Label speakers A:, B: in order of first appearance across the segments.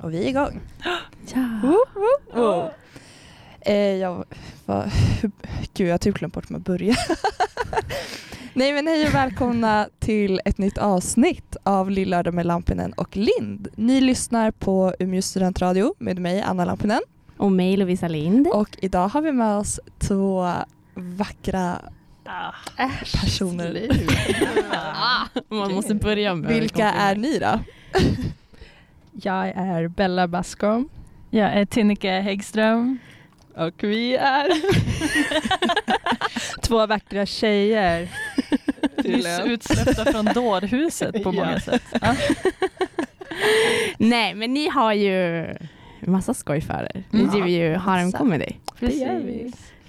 A: Och vi är igång.
B: Ja.
A: Oh. Eh, jag var, gud, jag har typ glömt bort mig att börja. Nej men hej och välkomna till ett nytt avsnitt av Lillördag med Lampinen och Lind. Ni lyssnar på Umeå studentradio med mig Anna Lampinen
B: Och mig Lovisa Lind.
A: och idag har vi med oss två vackra personer.
B: Ah, Man måste börja med
A: Vilka är ni då?
C: Jag är Bella Bascom.
D: Jag är Tinnike Häggström.
C: Och vi är två vackra tjejer.
D: Nyss utsläppta från dårhuset på många
C: Ja.
D: sätt.
B: Nej, men ni har ju massa skoj för er. Ni
A: Mm.
B: driver ju Harem
A: massa.
B: Comedy.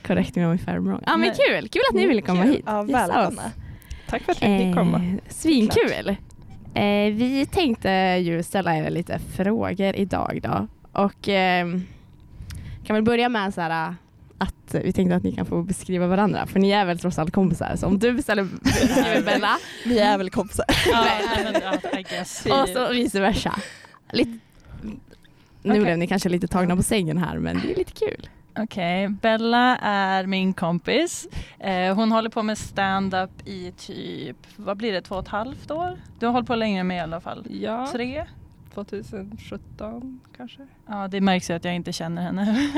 B: Korrekt mig om jag är wrong. Ja, men
D: Nej.
B: kul! Kul att ni ville komma hit.
A: Mm. Ja,
B: Gissa oss.
A: välkomna.
C: Tack för att ni fick komma.
B: Eh, svinkul! Eh, vi tänkte ju ställa er lite frågor idag då. Och ehm, kan väl börja med så här eh, att vi tänkte att ni kan få beskriva varandra. För ni är väl trots allt kompisar. Så om du beställer beskriver Bella
A: Vi är väl kompisar.
D: Ja, nej, men, ja, I guess.
B: och så vice versa. Lite, nu
D: Okej.
B: blev ni kanske lite tagna på sängen här men det är lite kul.
D: Okej, Bella är min kompis. Eh, hon håller på med stand-up i typ, vad blir det, två och ett halvt år? Du har hållit på längre än mig i alla fall.
C: Ja,
D: Tre?
C: 2017 kanske.
D: Ja, det märks ju att jag inte känner henne.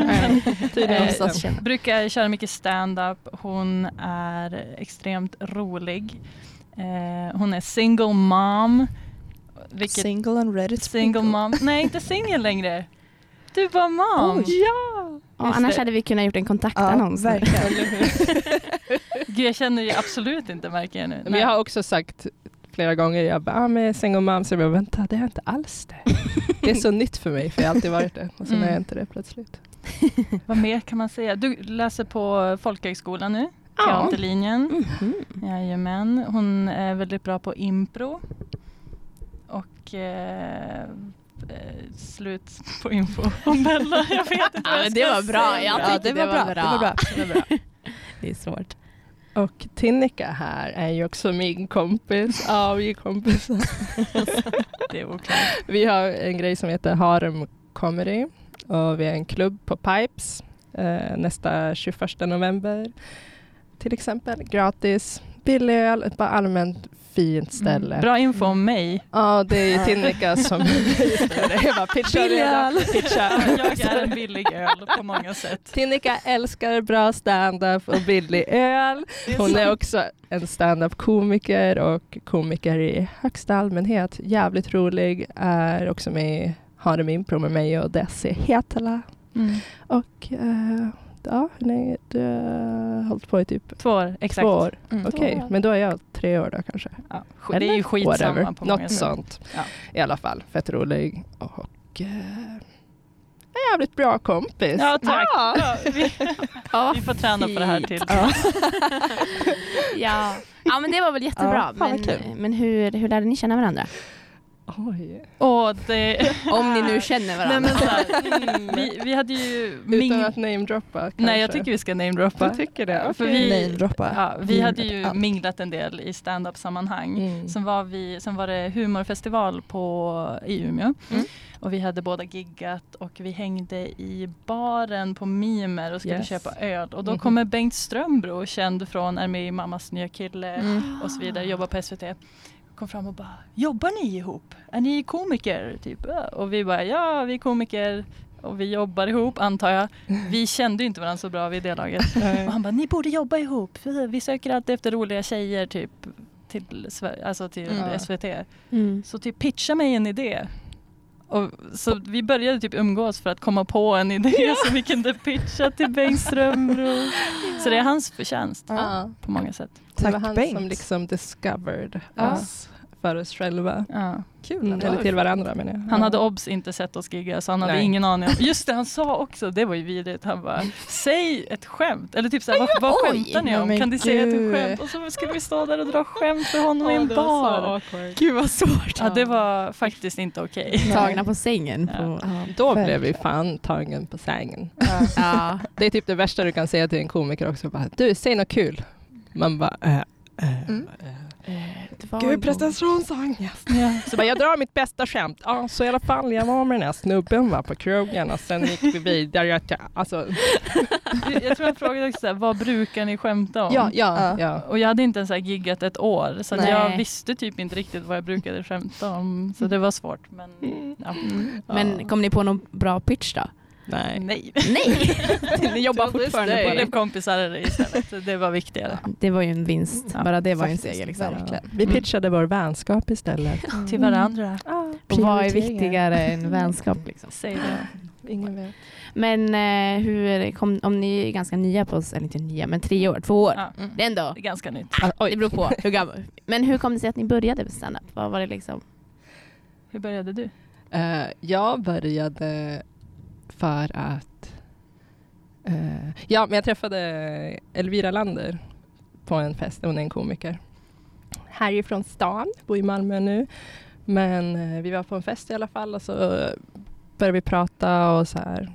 C: Tydligen.
D: Eh,
B: Låtsas känna.
D: brukar köra mycket stand-up. Hon är extremt rolig. Eh, hon är single mom. Vilket
A: Single and ready to
D: single
A: mingle.
D: mom? Nej, inte singel längre. Du var mom.
A: Oj.
B: Och
D: Just
B: annars
D: det.
B: hade vi kunnat gjort en
A: Ja,
B: kontaktannons. nu.
A: verkligen.
D: Gud, jag känner ju absolut inte märker jag nu.
C: Men jag har också sagt flera gånger, jag bara, ah, med single mom, så jag bara, vänta, det är inte alls det. Det är så nytt för mig, för jag har alltid varit det. Och sen
D: Mm.
C: är jag inte det plötsligt.
D: Vad mer kan man säga? Du läser på folkhögskolan nu,
B: Ja.
D: teaterlinjen.
B: Mhm.
D: Jajamän. Hon är väldigt bra på impro. Och eh, eh, slut på info om Bella. Jag vet inte vad
B: Ja,
D: jag
B: men det
D: ska
B: var bra.
D: säga.
B: Jag
A: Ja,
B: tyckte
A: det var bra. Det var bra.
B: Det, var bra. det är svårt.
C: Och Tinnika här är ju också min kompis. Ja, vi är kompisar.
D: Det är oklart.
C: Vi har en grej som heter Harem Comedy och vi är en klubb på Pipes eh, nästa 21 november. Till exempel gratis, billig öl, ett bara allmänt fint ställe.
D: Bra info om mig.
C: Ja, det är Tinnika som jag bara pitchar
A: Billig
C: redan.
A: öl.
C: Pitchar.
D: Jag är en billig öl på många sätt.
C: Tinnika älskar bra stand-up och billig öl.
D: Det är
C: Hon
D: sant.
C: är också en stand-up-komiker och komiker i högsta allmänhet. Jävligt rolig, är också med i Harem Impro med mig och Desi Hetala.
D: Mm.
C: Och eh, ja, hur länge? Du har hållit på i typ
D: Två år, exakt.
C: två år.
A: Mm.
C: Okej,
B: Två år.
C: men då är jag tre år då kanske.
D: Ja, sk- det är ju skitsamma
C: Whatever.
D: på många
C: Något
D: sätt.
C: sånt.
D: Ja.
C: I alla fall, fett rolig och eh, en jävligt bra kompis.
D: Ja, tack.
C: Ja.
D: Ja, vi,
B: Ja,
D: vi får träna på det här till.
B: ja. ja, men det var väl jättebra.
A: Ja, fan vad kul.
B: men men hur, hur lärde ni känna varandra?
C: Oj.
D: Och det,
B: Om ni nu känner varandra.
D: nej, men så här, mm. vi, vi hade ju...
C: Utan
D: ming-
C: att namedroppa kanske.
D: nej, jag tycker vi ska namedroppa.
C: Du tycker det?
D: Ja, för
C: Okej.
D: vi-
A: Namedroppa.
D: Ja, vi hade ju
A: Allt.
D: minglat en del i stand-up sammanhang.
C: Mm.
D: Sen var, vi, sen var det humorfestival på, i Umeå.
B: Mm.
D: Och vi hade båda giggat och vi hängde i baren på Mimer och skulle
C: Yes.
D: köpa öl. Och då
C: Mhm.
D: kommer Bengt Strömbro, känd från Är med i Mammas nya kille
C: Mm.
D: och så vidare, jobbar på SVT. Kom fram och bara, jobbar ni ihop? Är ni komiker? Typ. "Ja." Och vi bara, ja vi är komiker och vi jobbar ihop antar jag. Vi kände ju inte varandra så bra vid det laget.
C: Nej.
D: Och han bara, ni borde jobba ihop. Vi söker alltid efter roliga tjejer typ till, Sver- alltså till
C: Mm.
D: SVT.
B: Mm.
D: Så typ pitcha mig en idé. Och, så vi började typ umgås för att komma på en idé som vi kunde pitcha till Bengt Strömbro. Så det är hans förtjänst
C: Ja.
D: på många sätt.
C: Det var
A: Tack
C: han
A: Bengt.
C: som liksom discovered
D: Ja.
C: oss för oss själva.
D: Ja.
A: Kul
C: Mm,
A: ändå.
C: eller till varandra menar jag.
D: Han hade obs inte sett oss gigga så han hade
C: Nej.
D: ingen aning. om- Just det, han sa också, det var ju vidrigt, han bara säg ett skämt. Eller typ såhär, vad, vad
B: oj,
D: skämtar ni om?
A: men
D: Kan ni säga
A: gud.
D: ett skämt? Och så skulle vi stå där och dra skämt för honom i en
C: det var så
D: bar.
C: awkward.
B: Gud vad svårt.
D: Ja, det var faktiskt inte okej.
B: Tagna på sängen. På,
A: Ja,
C: Då
A: verkligen.
C: blev vi fan tagen på sängen.
A: Ja.
B: ja.
C: Det är typ det värsta du kan säga till en komiker också. Bara, du, säg något kul. Man bara, eh, eh,
A: Mm.
C: eh.
B: Eh, det var en
C: "Äh, Gud,
B: gång-
C: prästens ronsång! Yes.
D: Ja.
C: Så bara, jag drar mitt bästa skämt. Ja, så i alla fall, jag var med den här snubben va, på krogen och sen gick vi vidare. till- Alltså,
D: Jag tror jag frågade också så här, vad brukar ni skämta om?
C: ja, ja,
A: Ja.
C: ja.
D: Och jag hade inte ens så här giggat ett år så att
B: Nej.
D: jag visste typ inte riktigt vad jag brukade skämta om. Så det var svårt. Men ja.
B: Mm.
D: Ja.
B: Men kom ni på någon bra pitch då?
C: Nej.
D: nej.
B: Nej! ni jobbar
D: To this
B: fortfarande
D: day.
B: på
D: Blev
B: det.
D: kompisar istället. Så Det var viktigare.
B: Det var ju en vinst.
D: Ja,
B: Bara det var ju en
A: faktiskt,
B: seger. Liksom.
A: verkligen.
C: Vi pitchade vår vänskap istället.
D: Till varandra.
C: Ah,
B: Och vad är
A: Prioriteringar. Mm.
B: viktigare än vänskap? Liksom.
D: Säg det.
C: ingen vet.
B: Men eh, hur kom, om ni är ganska nya på oss, eller inte nya, men tre år, två år.
D: Ja.
B: Det är ändå,
D: Det är ganska nytt.
C: Ah, oj.
B: det beror på hur gammal. Men hur kom det sig att ni började med standup? Vad var det liksom?
D: Hur började du?
C: Eh, jag började för att... eh, ja, men jag träffade Elvira Lander på en fest. Hon är en komiker. Härifrån stan, bor i Malmö nu. Men eh, vi var på en fest i alla fall och så började vi prata och så här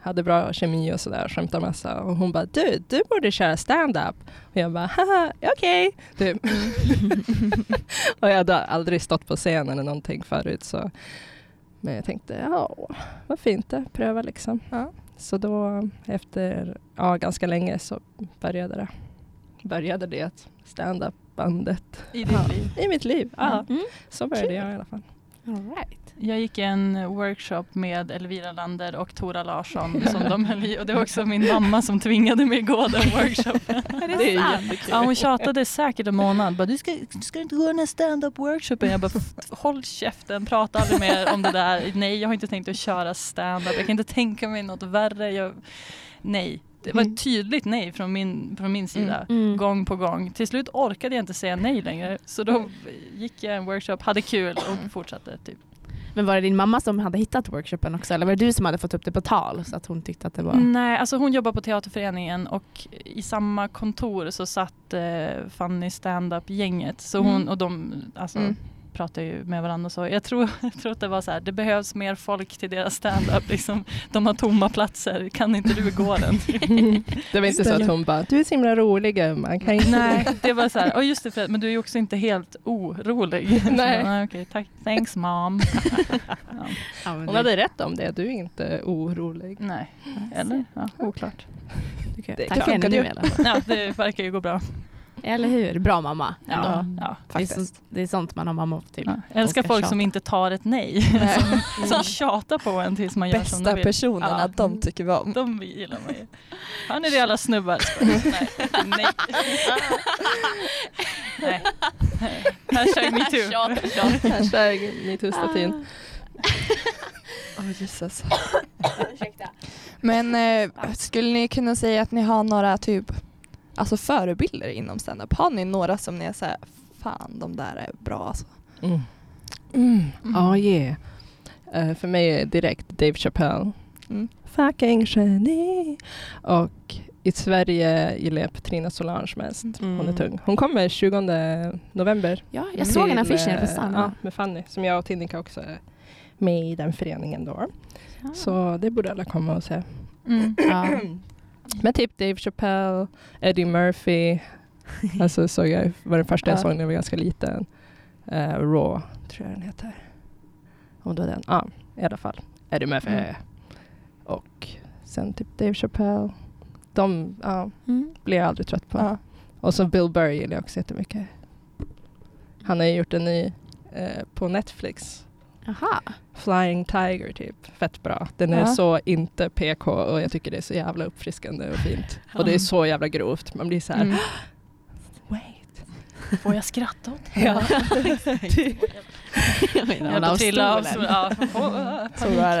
C: hade bra kemi och sådär, skämtade massa. Och hon bara, du, du borde köra stand-up. Och jag bara, haha, okej. Typ. och jag hade aldrig stått på scenen eller någonting förut. Så. Men jag tänkte, ja, varför inte pröva liksom. Ja. Så då efter ja, ganska länge så började det. Började det stand-up bandet
D: I ditt liv?
C: i mitt liv. Ja,
B: Mm.
C: så började jag i alla fall.
B: All right.
D: Jag gick en workshop med Elvira Lander och Tora Larsson som de höll i och det var också min mamma som tvingade mig gå den workshopen.
B: Det är sant.
D: Ja, hon tjatade säkert en månad. Bara, du, ska, du ska inte gå den här stand-up workshopen. Jag bara håll käften, prata aldrig mer om det där. Nej, jag har inte tänkt att köra stand-up. Jag kan inte tänka mig något värre. Jag, nej, det var ett tydligt nej från min, från min sida.
B: Mm.
D: Gång på gång. Till slut orkade jag inte säga nej längre. Så då gick jag en workshop, hade kul och fortsatte. Typ.
B: Men var det din mamma som hade hittat workshopen också eller var det du som hade fått upp det på tal så att hon tyckte att det var...
D: Nej, alltså hon jobbar på Teaterföreningen och i samma kontor så satt eh, Fanny Standup-gänget. Så hon
B: Mm.
D: och de alltså,
A: Mm.
D: pratar ju med varandra och så. Jag tror, jag tror att det var så här, det behövs mer folk till deras standup. Liksom. De har tomma platser, kan inte du gå den?
C: Det var inte så att hon bara, du är så himla rolig Emma. Kan inte...
D: Nej, det var så här, oh, just det Fred, men du är ju också inte helt orolig. Så
C: Nej.
D: bara, "Ah, Okej, tack, thanks mom. ja,
B: Ja, men
C: Hon
B: det-
C: hade rätt om det, du är inte orolig.
D: nej, eller? Mm. Ja, oklart.
B: du kan-
C: det
B: Tacka henne nu
C: funkade ju.
B: i alla fall.
D: Ja, det verkar ju gå bra.
B: Eller hur? Bra mamma. ändå.
D: Ja, ja.
B: Det, är sånt, det är sånt man har mamma till.
D: Ja. Jag älskar
B: ska
D: folk
B: tjata.
D: som inte tar ett nej. Som, som tjatar på en tills man gör som
A: Bästa
D: de vill.
A: personerna,
D: Ja.
A: de tycker vi
C: Mm.
A: om.
D: De gillar man ju. Hör ni det alla snubbar? Nej. Nej. Nej. Hashtag metoo.
B: Tjat, tjat.
C: Hashtag metoo-statyn.
A: Åh, Jesus. Men eh, skulle ni kunna säga att ni har några typ alltså förebilder inom standup? Har ni några som ni är såhär, fan de där är bra alltså.
C: Mm. Mm. Oh, yeah. Eh, för mig är direkt Dave Chappelle.
A: Mm.
C: Fucking geni. Och i Sverige gillar jag Petrina Solange mest. Hon är tung. Hon kommer 20 november.
B: Ja, Mm. jag såg en
C: till,
B: affisch nere på
C: eh,
B: stan.
C: Ja, med Fanny, som jag och Tinnika också är med i den föreningen då.
B: Ah.
C: Så det borde alla komma och se.
D: Mm.
B: Ja.
C: Men typ Dave Chappelle, Eddie Murphy. Alltså såg jag, var den första jag
A: Ja.
C: såg när jag var ganska liten. Eh, Raw, tror jag den heter. Om det var den. Ja, i alla fall. Eddie Murphy.
D: Mm.
C: Och sen typ Dave Chappelle. De ja,
B: Mm.
C: blir jag aldrig trött på.
A: Ja.
C: Och så Bill Burr gillar jag också jättemycket. Han har ju gjort en ny eh, på Netflix.
B: Aha.
C: Flying Tiger typ. Fett bra. Den är
A: Ja.
C: så inte PK och jag tycker det är så jävla uppfriskande och fint. Och det är så jävla grovt. Man blir så här.
A: Mm.
C: Wait.
D: Får jag skratta åt det?
C: Ja.
D: Hjälper till av ja.
A: Så bra är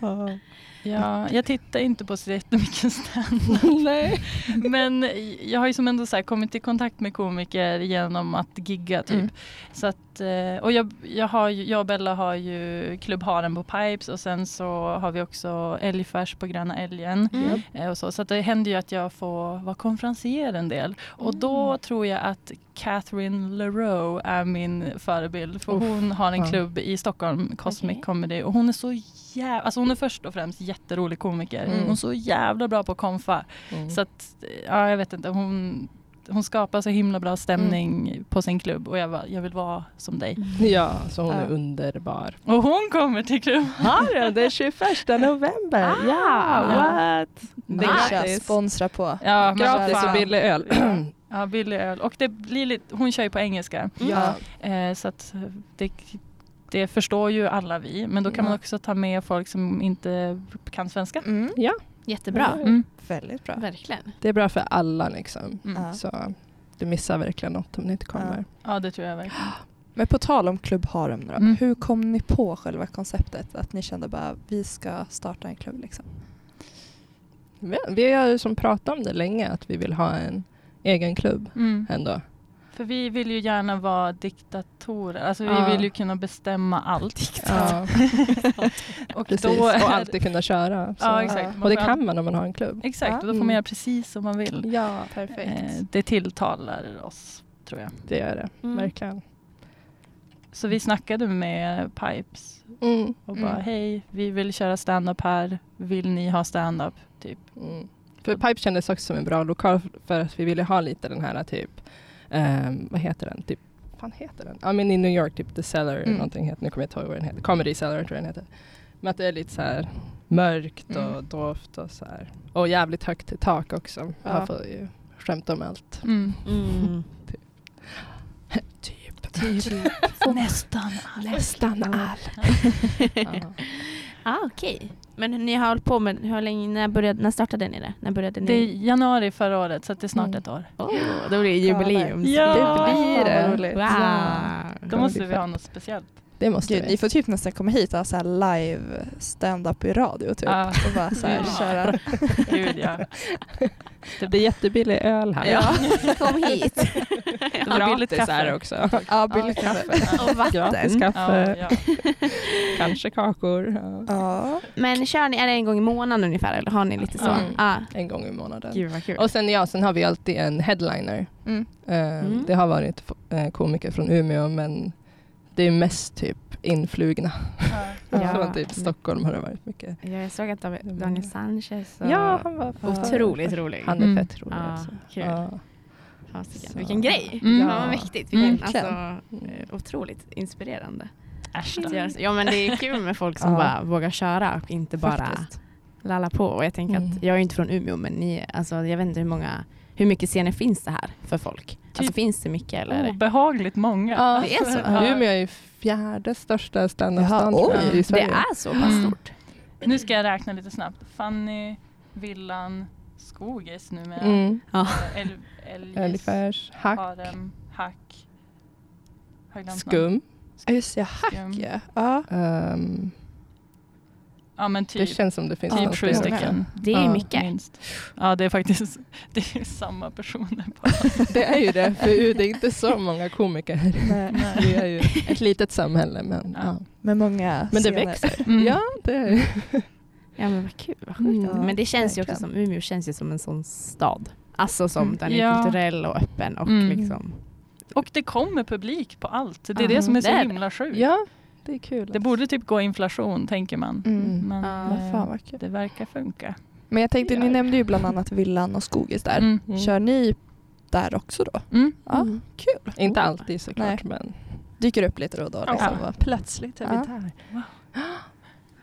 A: den.
D: ja, Jag tittar inte på så jättemycket stand
C: Nej.
D: Men jag har ju som ändå så här kommit i kontakt med komiker genom att gigga typ.
A: Mm.
D: Så att, eh, och jag, jag, har ju, jag och Bella har ju Klubb Haren på Pipes och sen så har vi också Älgfärs på Gröna Älgen.
B: Mm.
D: Eh, och så så att det händer ju att jag får vara konferencier en del. Och
C: Mm.
D: då tror jag att Catherine Leroux är min förebild. För
C: Uff,
D: hon har en
C: ja.
D: klubb i Stockholm, Cosmic
B: Okej.
D: Comedy. Och hon är så jävla, alltså hon är först och främst jätterolig komiker.
C: Mm.
D: Hon är så jävla bra på konfa.
C: Mm.
D: Så att, ja jag vet inte, hon hon skapar så himla bra stämning
C: Mm.
D: på sin klubb och jag bara, jag vill vara som dig.
C: Ja, så hon
A: Ja.
C: är underbar.
D: Och hon kommer till klubben.
C: Har du? Det är 21 november.
B: Ah,
C: what?
A: Det
C: är
A: gratis.
C: gratis.
A: Sponsra på.
D: Ja, men
C: Gratis
D: fan.
C: och billig öl.
D: Ja, billig öl. Och det blir lite, hon kör ju på engelska.
A: Ja.
D: Eh, så att det, det förstår ju alla vi. Men då kan man
A: Ja.
D: också ta med folk som inte kan svenska.
A: Mm.
B: Jättebra.
D: Mm.
A: Väldigt bra.
B: Verkligen.
C: Det är bra för alla liksom.
D: Mm.
A: Ja.
C: Så du missar verkligen något om ni inte kommer.
D: Ja, det tror jag verkligen.
A: Men på tal om Klubb Harem, då,
D: Mm.
A: hur kom ni på själva konceptet? Att ni kände bara vi ska starta en klubb liksom?
C: Vi, vi har ju som pratat om det länge att vi vill ha en egen klubb
D: Mm.
C: ändå.
D: För vi vill ju gärna vara diktatorer. Alltså vi
C: Ja.
D: vill ju kunna bestämma allt.
C: Ja,
D: Och
C: precis.
D: då är-
C: Och alltid kunna köra. Så.
D: Ja, exakt. Man
C: Och det
D: får all-
C: kan man om man har en klubb.
D: Exakt,
A: Ja.
D: och då får man
C: Mm.
D: göra precis som man vill.
C: Ja,
D: Eh, det tilltalar oss, tror jag.
C: det gör det.
B: Mm.
C: Verkligen.
D: Så vi snackade med Pipes
C: Mm.
D: och
A: Mm.
D: bara hej, vi vill köra stand-up här. Vill ni ha stand-up? Typ.
C: Mm. För Pipe kändes också som en bra lokal för att vi ville ha lite den här typ, ehm, vad heter den? Typ, vad fan heter den? Ja men i New York, typ The Cellar eller
A: Mm.
C: någonting heter, nu kommer jag inte ihåg vad den heter, Comedy Cellar tror jag den heter. Men att det är lite så här mörkt och
A: Mm.
C: dovt och så här. Och jävligt högt i tak också.
A: Ja.
C: Man får ju skämta om allt.
D: Mm.
B: Mm.
C: Typ.
D: Nästan.
C: Nästan all. ja.
B: Ah, Okej, men ni har hållit på med, hur länge, när, började, när startade ni det? När började ni?
D: Det är januari förra året så att det är snart
C: Mm.
D: ett år.
B: oh, då blir det jubileums.
D: Ja.
A: Det blir det.
B: Wow.
D: Då
C: Ja,
D: måste
C: det är
D: vi ha något speciellt.
C: Det måste
A: Gud,
C: vi.
A: ni får typ nästan komma hit och ha så här live stand-up i radio typ.
D: Ja.
A: Och bara så här,
D: Ja.
A: köra.
D: Gud ja.
C: Det är jättebillig öl här.
A: Ja.
B: Kom hit.
C: Det var billigt
D: Gratis
C: kaffe.
D: är det
C: också.
A: Ja, billigt
D: Ja,
A: kaffe.
B: Och vatten.
C: Gratis
D: Ja,
C: kaffe,
D: ja.
C: kanske kakor. Ja.
A: Ja.
B: Men kör ni, är det en gång i månaden ungefär eller har ni lite så?
C: Mm.
B: Ah.
C: En gång i månaden.
B: Gud vad kul.
C: Och sen, ja, sen har vi alltid en headliner.
A: Mm.
C: Eh,
B: Mm.
C: Det har varit f- eh, komiker från Umeå men det är mest typ influgna.
D: Ja.
B: Ja.
C: Från typ Stockholm har det varit mycket.
B: Jag såg att Daniel Sanchez och...
C: Ja, han var
B: Otroligt rolig.
C: Han är
D: Mm.
C: fett rolig
B: Ja,
C: alltså.
B: kul.
C: Ja.
B: Fasiken,
C: Så.
B: Vilken grej.
D: Mm.
B: Fan vad mäktigt. Vilken,
A: Mm,
B: alltså,
A: verkligen.
B: eh, otroligt inspirerande.
D: Äsch
B: Att
D: då.
B: göra så. Ja men det är kul med folk som
A: Ja.
B: bara vågar köra och inte bara
A: Faktiskt.
B: lalla på. Och jag tänker
C: Mm.
B: att jag är ju inte från Umeå men ni, alltså, jag vet inte hur många hur mycket scener finns det här för folk? Alltså finns det mycket eller?
D: Obehagligt många.
C: Ja.
B: Det är så?
D: Ja.
C: Umeå är ju fjärde största
A: Jaha,
C: standup-stan
A: oj.
C: tror jag, i
B: Det
C: Sverige.
B: är så pass
D: Mm.
B: stort?
D: Nu ska jag räkna lite snabbt. Fanny, Villan, Skogis numera.
C: Mm.
B: Ja.
D: El, Eljes,
C: Älgfärs, hack,
D: Harem, Hack. Har jag glömt någon?
C: skum.
A: Ja, just det, hack
D: Skum.
A: ja. ja.
C: Ehm,
D: Ja men
C: Det
D: typ,
C: känns som det finns
D: typ
C: något
D: sju
C: mer.
D: stycken.
B: Det är
C: Ja.
B: mycket.
D: Minst. Ja det är faktiskt det är samma personer. På.
C: Det är ju det, för det är inte så många komiker.
A: Med,
C: Vi är ju ett litet samhälle men
D: Ja.
C: ja.
A: med många
C: Men det
A: scener.
C: växer.
D: Mm.
C: Ja, det är ju.
B: Ja men vad kul, vad sjukt.
C: Mm.
A: Ja,
B: men det känns ju också
A: verkligen.
B: som, Umeå känns ju som en sån stad. Alltså som
C: Mm.
B: den är
D: Ja.
B: kulturell och öppen och
D: Mm.
B: liksom.
D: Och det kommer publik på allt. Det är
B: Ja,
D: det som är så
B: det är det.
D: himla sjukt.
C: Ja, det är kul.
D: Det borde typ gå inflation tänker man.
A: Mm.
D: Men
B: Ja.
A: Men
D: eh,
A: fan vad kul.
D: det verkar funka.
A: Men jag tänkte, ni
C: Ja.
A: nämnde ju bland annat Villan och Skogis där.
D: Mm.
C: Mm.
A: Kör ni där också då?
D: Mm.
A: Ja,
B: Mm.
A: kul.
C: Inte alltid såklart men
A: Dyker upp lite då och då. Liksom.
D: Ja.
C: plötsligt
A: är vi
C: där.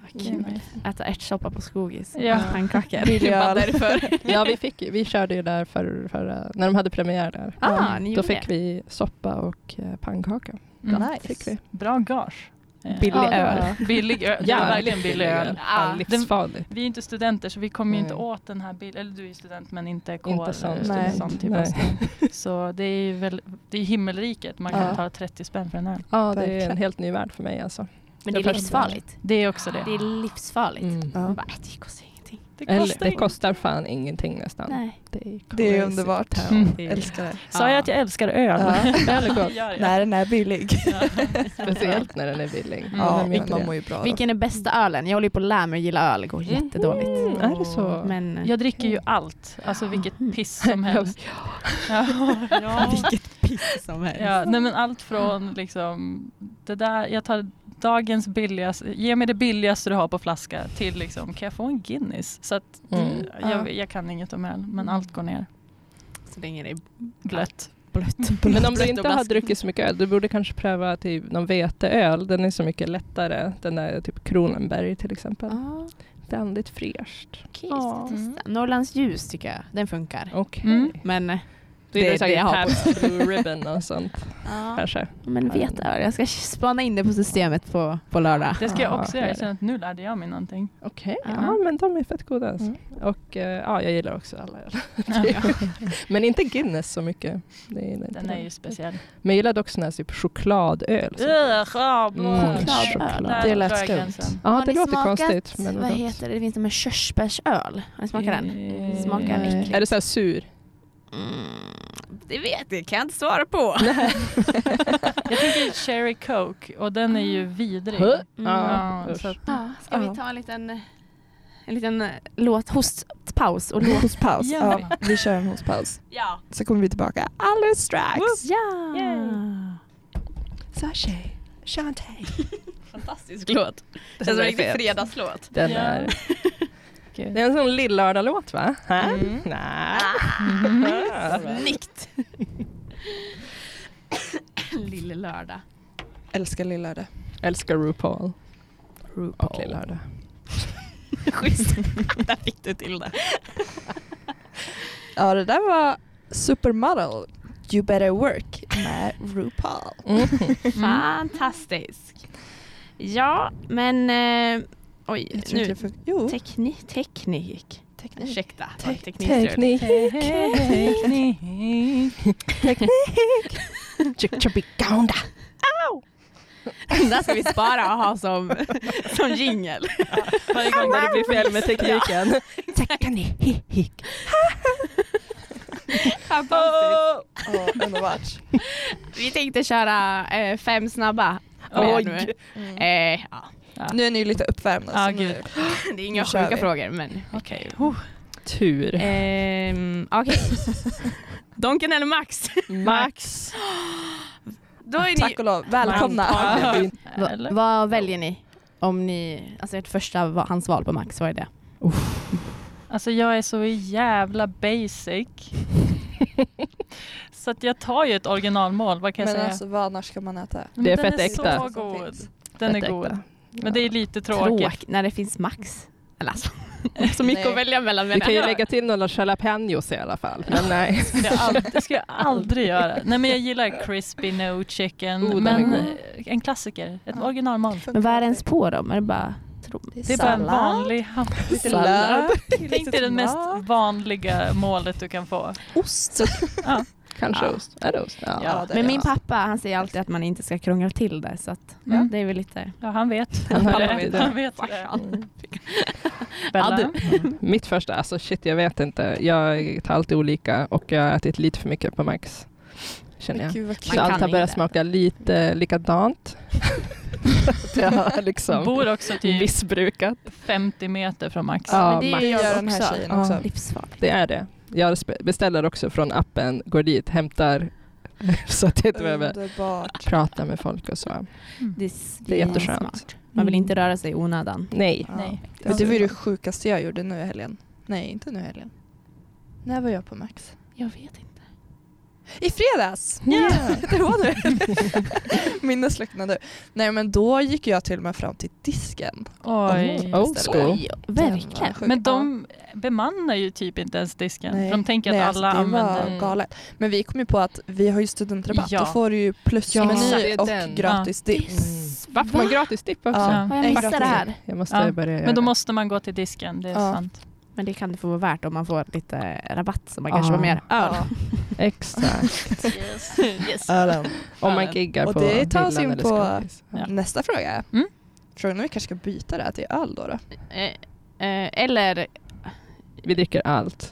B: Vad
D: Mm.
B: kul. Äta ärtsoppa på Skogis.
D: Ja.
B: Och Pannkakor.
A: Billig
B: Det är bara
A: öl.
B: därför.
C: Ja, vi, fick, ju- vi körde ju där för, förra- när de hade premiär där.
B: Ah, ni
C: Då
B: gjorde
C: fick
B: det.
C: vi soppa och eh, pannkaka.
D: Mm.
A: Nice.
C: Fick vi.
D: Bra gage. Eh,
B: Billig
C: Ja, det
B: öl.
C: var-
D: Billig öl. Det är verkligen billig öl.
B: Ja.
C: Ja, livsfarligt.
D: Vi är inte studenter så vi kommer ju inte
C: Nej.
D: åt den här bilden. Eller du är ju student men inte kår.
C: Inte sån
D: eller
A: Nej.
D: sån typ av
C: Nej.
D: student. Så det är ju väl, det är himmelriket. Man kan
A: Ja.
D: ta 30 spänn för en öl.
C: Ja, det är
A: Verkligen.
C: en helt ny värld för mig alltså.
B: Men det är
C: Det var-
B: livsfarligt.
D: Det är också det.
B: Det är livsfarligt.
A: Ja.
B: Man bara, äh, det kostar ingenting.
D: Det
C: Eller, det
D: inget.
C: kostar fan ingenting nästan.
B: Nej.
C: Det är,
A: Det
C: crazy.
A: är underbart.
D: Mm.
B: Det är-
A: Älskar det.
D: Sa jag att jag älskar öl?
A: Ja.
C: Öl är
D: Ja.
C: gott.
A: När den är billig.
C: Speciellt när den är billig.
D: Mm.
A: Ja,
C: Vem gör
A: men
C: inte
A: man
C: det?
A: mår ju bra. då.
B: Vilken är bästa ölen? Jag håller ju på att lära mig att gilla öl. Det går
C: Mhm.
B: jättedåligt.
C: Mm, är det så?
B: Men
D: Jag dricker ju allt. Alltså vilket piss som helst. Ja. Ja.
B: vilket piss som helst.
D: Ja, nej men allt från liksom det där, jag tar dagens billigaste, ge mig det billigaste du har på flaska till liksom, kan jag få en Guinness? Så att
C: Mm.
D: jag, jag kan inget om öl, men allt går ner.
B: så länge det är
D: Glött.
B: blött.
C: Men om du
D: Blött och
C: inte har
D: blaskigt.
C: druckit så mycket öl, du borde kanske pröva typ någon veteöl. Den är så mycket lättare. Den är typ Kronenberg till exempel.
B: Ah,
C: Väldigt fräscht.
B: okej,
C: Ja.
B: ska testa. Mm. Norrlands ljus tycker jag, den funkar.
C: Okej.
D: Mm.
B: Men eh, det,
C: Det är det,
B: det jag har.
C: Pabst Blue Ribbon och sånt
B: Ja.
C: kanske.
B: Men vet jag, jag ska spana in det på systemet på, på lördag.
D: Det ska
C: Ah,
D: jag också göra.
C: okej.
D: Jag känner att nu lärde jag mig någonting.
C: Okej,
B: Ja.
C: ja men de är fett goda. alltså.
A: Mm.
C: Och eh, ja, jag gillar också alla öl.
D: Ja,
C: Men inte Guinness så mycket. Det gillar inte
D: Den är
C: jag.
D: ju speciell.
C: Men jag gillade också sån här typ chokladöl. som-
D: Ugh, choklad.
C: Mm,
B: Choklad.
C: choklad.
D: Där
A: Det lät
D: drar jag
A: skumt.
D: gränsen.
C: Ja,
B: Har
C: det
B: ni
C: låter
B: smakat-
C: konstigt. Men
B: Vad
C: gott.
B: heter det? Det finns de med körsbärsöl. Har ni smakat den?
D: Eh,
B: Smakar
C: Eh,
B: äckligt.
C: Är det så här sur?
B: Mm, det vet jag, kan jag inte svara på.
D: Jag tänker Cherry Coke och den är ju vidrig.
C: Huh?
B: Mm.
C: Ja,
D: Ja,
C: usch.
D: så att-
B: Ja, ska
A: Ja.
B: vi ta en liten, en liten eh, låt, hostpaus och låt?
A: Hostpaus.
D: Ja.
A: Ja, vi kör en hostpaus.
B: ja.
A: Så kommer vi tillbaka alldeles strax.
B: ja.
A: Sashay, Shantae.
B: Fantastisk låt. Känns som
C: är
B: en riktig
C: fet.
B: fredagslåt.
C: Den
D: Ja.
C: är...
D: Gud.
C: Det är en sån lill-lördag-låt va?
D: Mm.
C: Nej.
B: Snyggt. Lille lördag.
A: Älskar Lilla Öde.
C: Älskar RuPaul och
B: RuPaul.
C: lill-lördag.
B: Schysst. Där fick du till det.
A: Ja, det där var Supermodel, You Better Work med RuPaul.
B: Fantastisk. Ja, men... Eh, oj,
A: Jag tror typ- inte
B: nu.
A: jag fick... Jo,
B: Tekni, teknik.
A: teknik.
B: Ursäkta. vad
A: Tek-
B: teknikstrul.
C: Chichabigounda.
B: Den där ska vi spara och ha som, som jingel.
D: Varje gång
C: Det blir fel med tekniken.
A: Teknik. Ja, underbart.
B: Vi tänkte köra eh, fem snabba.
D: Oj.
B: Men, eh, ja.
A: Nu är ni ju lite uppvärmda.
D: Ja,
A: så
D: gud.
A: nu-
B: Det är inga
A: Nu kör
B: sjuka
A: vi.
B: frågor men
D: Okej.
C: Tur.
B: Ehm, Okej. Donken eller Max?
D: Mm.
C: Max.
B: Då är ni,
A: Tack och lov, välkomna.
C: Antagligen.
B: Va-
D: Eller?
B: vad väljer ni? Om ni, alltså ert första, va- hans val på Max, vad är det?
D: Alltså jag är så jävla basic. så att jag tar ju ett originalmål, vad kan jag
A: Men
D: säga?
A: alltså vad annars ska man äta?
D: Men
C: det är
D: den
C: fett
D: är
C: äkta.
D: Så god.
A: Som
D: Den är
C: Fett
D: god.
C: äkta.
D: Men det är lite tråkigt.
B: Tråk- när det finns Max. Eller alltså, så mycket
A: Nej.
B: att välja mellan.
C: Du
B: menar
C: kan ju
B: jag.
C: lägga till några jalapenos i alla fall. Men nej.
D: Det ska jag aldrig, det ska jag aldrig göra. Nej men jag gillar crispy no chicken.
C: Oh, den
D: men
C: är
D: eh, en klassiker, ett
A: Ja.
D: originalmål.
A: Funkar
B: Men vad är
A: det?
B: ens på dem? Är det bara tro?
D: Det är bara en vanlig
A: Lite
D: hamburgare.
A: lök.
D: Tänk dig det mest vanliga målet du kan få.
A: Ost.
C: Kanske
B: Ja.
C: ost. Är det ost? Ja.
A: Ja, det är
B: Men min
A: det.
B: pappa han säger alltid att man inte ska krångla till det så att
D: Ja.
B: det är väl lite...
D: Mm. Ja, han vet.
C: Han har
D: det.
C: rätt.
D: Han vet det.
C: Mm.
D: Bella.
B: Ja,
C: Mitt första, alltså shit jag vet inte. Jag tar alltid olika och jag har ätit lite för mycket på Max. Känner jag.
A: Gud vad
B: Man
C: Så
A: kul.
B: kan
C: allt har börjat
B: inte.
C: smaka lite likadant. det har liksom
D: Bor också typ
C: missbrukat.
D: 50 meter från Max.
B: men
C: Ja,
B: det är ju
A: Max. Gör
B: jag
A: den här
B: också.
A: tjejen
B: Ja.
A: också.
B: Livsfarligt.
C: Det är det. Jag spe- beställer också från appen, går dit, hämtar så att jag inte behöver
A: Underbart.
C: prata med folk och så.
B: Det är,
C: Det är jätteskönt.
B: smart. Man vill
C: Mm.
B: inte röra sig i onödan.
C: Nej.
A: Ja.
D: Nej.
A: Men det var ju det sjukaste jag gjorde nu i helgen. Nej, inte nu i helgen. När var jag på Max?
B: Jag vet inte.
A: I fredags! Yeah. det var nu. Minnes slocknar nu. Nej men då gick jag till och med fram till disken.
D: Oj.
C: Mm. Old school.
B: Oj, verkligen.
A: Den var sjuk.
D: Men de bemannar ju typ inte ens disken.
A: Nej.
D: De tänker
A: Nej,
D: att alla
A: alltså, det
D: använder...
A: var galet. Men vi kom ju på att vi har ju studentrabatt.
D: Ja.
A: Då får du ju
C: Ja, det
A: plusmeny
C: är
A: och
C: den.
A: gratis dipp.
B: Diss.
C: Va? Får man gratis dipp också?
A: Ja.
D: Ja.
B: Har jag missat
A: Faktiskt.
B: det här?
C: Jag måste
D: Ja.
C: börja göra
D: Men då
C: det.
D: måste man gå till disken, det är
A: Ja.
D: sant.
B: Men det kan det få vara värt om man får lite rabatt så man kan
C: Ja.
B: köpa mer öl.
A: Ja.
C: Exakt.
D: Yes.
A: Ölen.
C: Om man giggar
A: Och
C: på
A: det tar oss
C: villan
A: in
C: eller
A: på-
C: skåpis. Ja.
A: Nästa fråga.
D: Mm.
A: Frågan om vi kanske ska byta det här till öl då? då?
B: Eh, eh, eller
C: Vi dricker allt.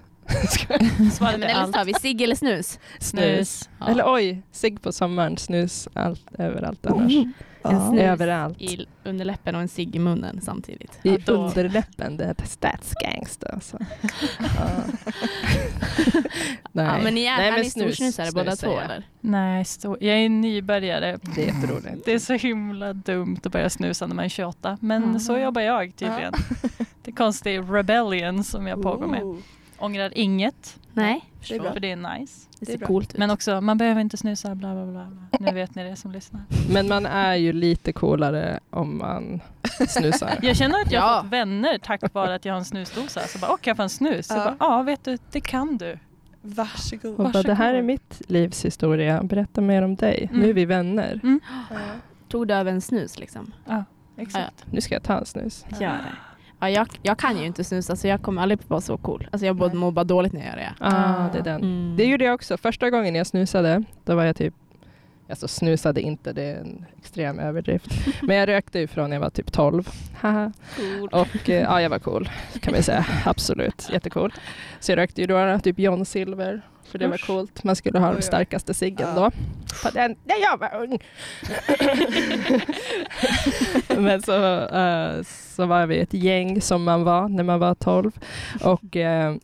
D: Svaret
B: men
D: är
B: eller så
D: allt.
B: tar vi cigg eller snus.
D: Snus.
B: Ja.
C: Eller oj, cigg på sommaren, snus allt, överallt annars.
B: Mm, En snus
C: Överallt.
B: i underläppen och en cigg i munnen samtidigt.
C: I
D: Ja, då.
C: underläppen, det heter statsgangster. Alltså. Ja. Nej.
B: Ja, men ni är,
C: Nej,
B: han
C: men
B: är
C: snus-
B: storsnusare
C: snus
B: båda två
C: säger jag.
B: eller?
D: Nej, stå- jag är nybörjare.
C: Det är jätteroligt.
D: Det är så himla dumt att börja snusa när man är 28, men
B: Mm.
D: så jobbar jag tydligen. Det är konstig rebellion som jag pågår med. Ångrar inget,
B: Nej,
A: Det är bra.
D: för det är nice.
B: det
A: Det
B: ser
A: är bra.
B: coolt ut.
D: Men också, man behöver inte snusa, bla bla bla. bla. Nu vet ni det som lyssnar.
C: Men man är ju lite coolare om man snusar.
D: Jag känner att jag har
B: Ja.
D: fått vänner tack vare att jag har en snusdosa. Så bara, åh kan jag få en snus? Ja.
A: Ja.
D: Jag bara, ja vet du, det kan du.
A: Varsågod.
C: Och bara, det här är
D: Varsågod.
C: mitt livs historia, berätta mer om dig.
D: Mm.
C: Nu är vi vänner.
A: Ja.
B: Tog du över en snus liksom?
D: Exakt.
C: Nu ska jag ta en snus.
B: Gör det. Ja, jag, jag kan ju inte snusa så jag kommer aldrig vara så cool. Alltså jag både
A: Nej.
B: mår bara dåligt när jag gör det.
C: Ah, det är den.
B: Mm.
C: Det gjorde jag också. Första gången jag snusade, då var jag typ Alltså snusade inte, det är en extrem överdrift. Men jag rökte ju från jag var typ 12. Haha. Och eh, ja, jag var cool kan man säga. Absolut, jättecool. Så jag rökte ju då typ John Silver, för det var
D: Usch.
C: coolt. Man skulle ha
A: Oj, Ah.
C: den
A: oj.
C: starkaste ciggen
A: Ja.
C: då. På den, när jag var ung. Men så, eh, så var vi ett gäng som man var när man var 12. Och eh,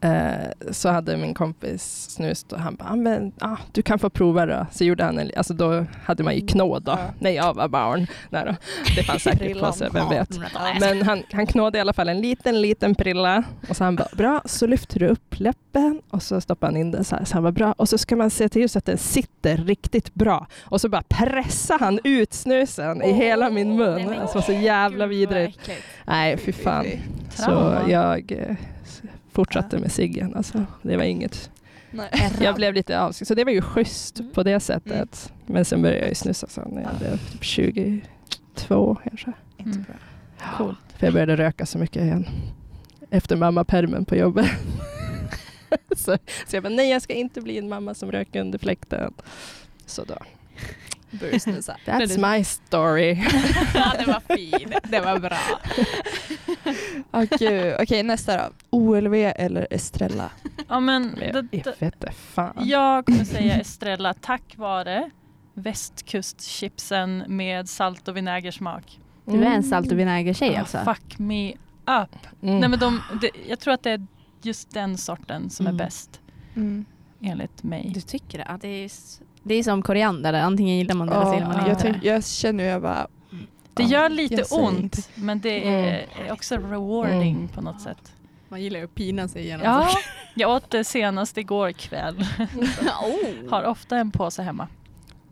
C: eh, så hade min kompis snus och han bara, "Ah, men ah, du kan få prova då. Så gjorde han en, alltså då hade man ju knåd då,
A: Ja.
C: när jag var barn. Nej då. Det fanns säkert
A: Prillan.
C: påse, vem vet.
B: Ja,
C: Men han, han knådde i alla fall en liten, liten prilla och så han bara bra, så lyfter du upp läppen och så stoppar han in den så här, så han bara bra och så ska man se till så att den sitter riktigt bra och så bara pressar han ut snusen i hela min mun.
B: Nej, men
C: alltså så jävla
B: Gud, vad
C: vidrigt.
B: äckligt.
C: Nej, fy fan. Så
D: Trauma.
C: jag eh, s- fortsatte med ciggen alltså. Det var inget.
A: Nej.
C: Jag blev lite avskräckt, så det var ju schysst
B: Mm.
C: på det sättet. Men sen började jag ju snusa sen när jag blev typ 22 kanske.
A: Inte
D: Mm.
A: bra.
D: Coolt.
C: För jag började röka så mycket igen. Efter mammapermen på jobbet. så, så jag bara, nej jag ska inte bli en mamma som röker under fläkten. Så då.
A: Börjar snusa.
C: That's my story.
B: Ja, det var fint. Det var bra.
A: Åh, Ah, gud. Okej nästa då. OLV eller Estrella?
D: Ja, men,
C: Men
D: det,
C: Jag
D: det,
C: vete fan.
D: jag kommer säga Estrella tack vare västkustchipsen med salt och vinägersmak.
B: Du är en salt och vinägertjej alltså?
D: Ah, fuck me up.
C: Mm.
D: Nej, men de, det, jag tror att det är just den sorten som
B: Mm.
D: är bäst enligt mig.
B: Du tycker det? Ja, det, är, s- det är som koriander, antingen gillar man det eller så
A: Ja,
B: gillar man
A: jag,
B: inte
A: tyck-
B: det.
A: jag känner ju jag bara...
D: Det
A: ja,
D: gör lite
A: jag säger
D: ont
A: inte.
D: men det
B: Mm.
D: är, är också rewarding på något sätt.
B: Man gillar ju att pina sig igenom
D: Ja, jag åt det senast igår kväll.
B: oh.
D: Har ofta en påse hemma.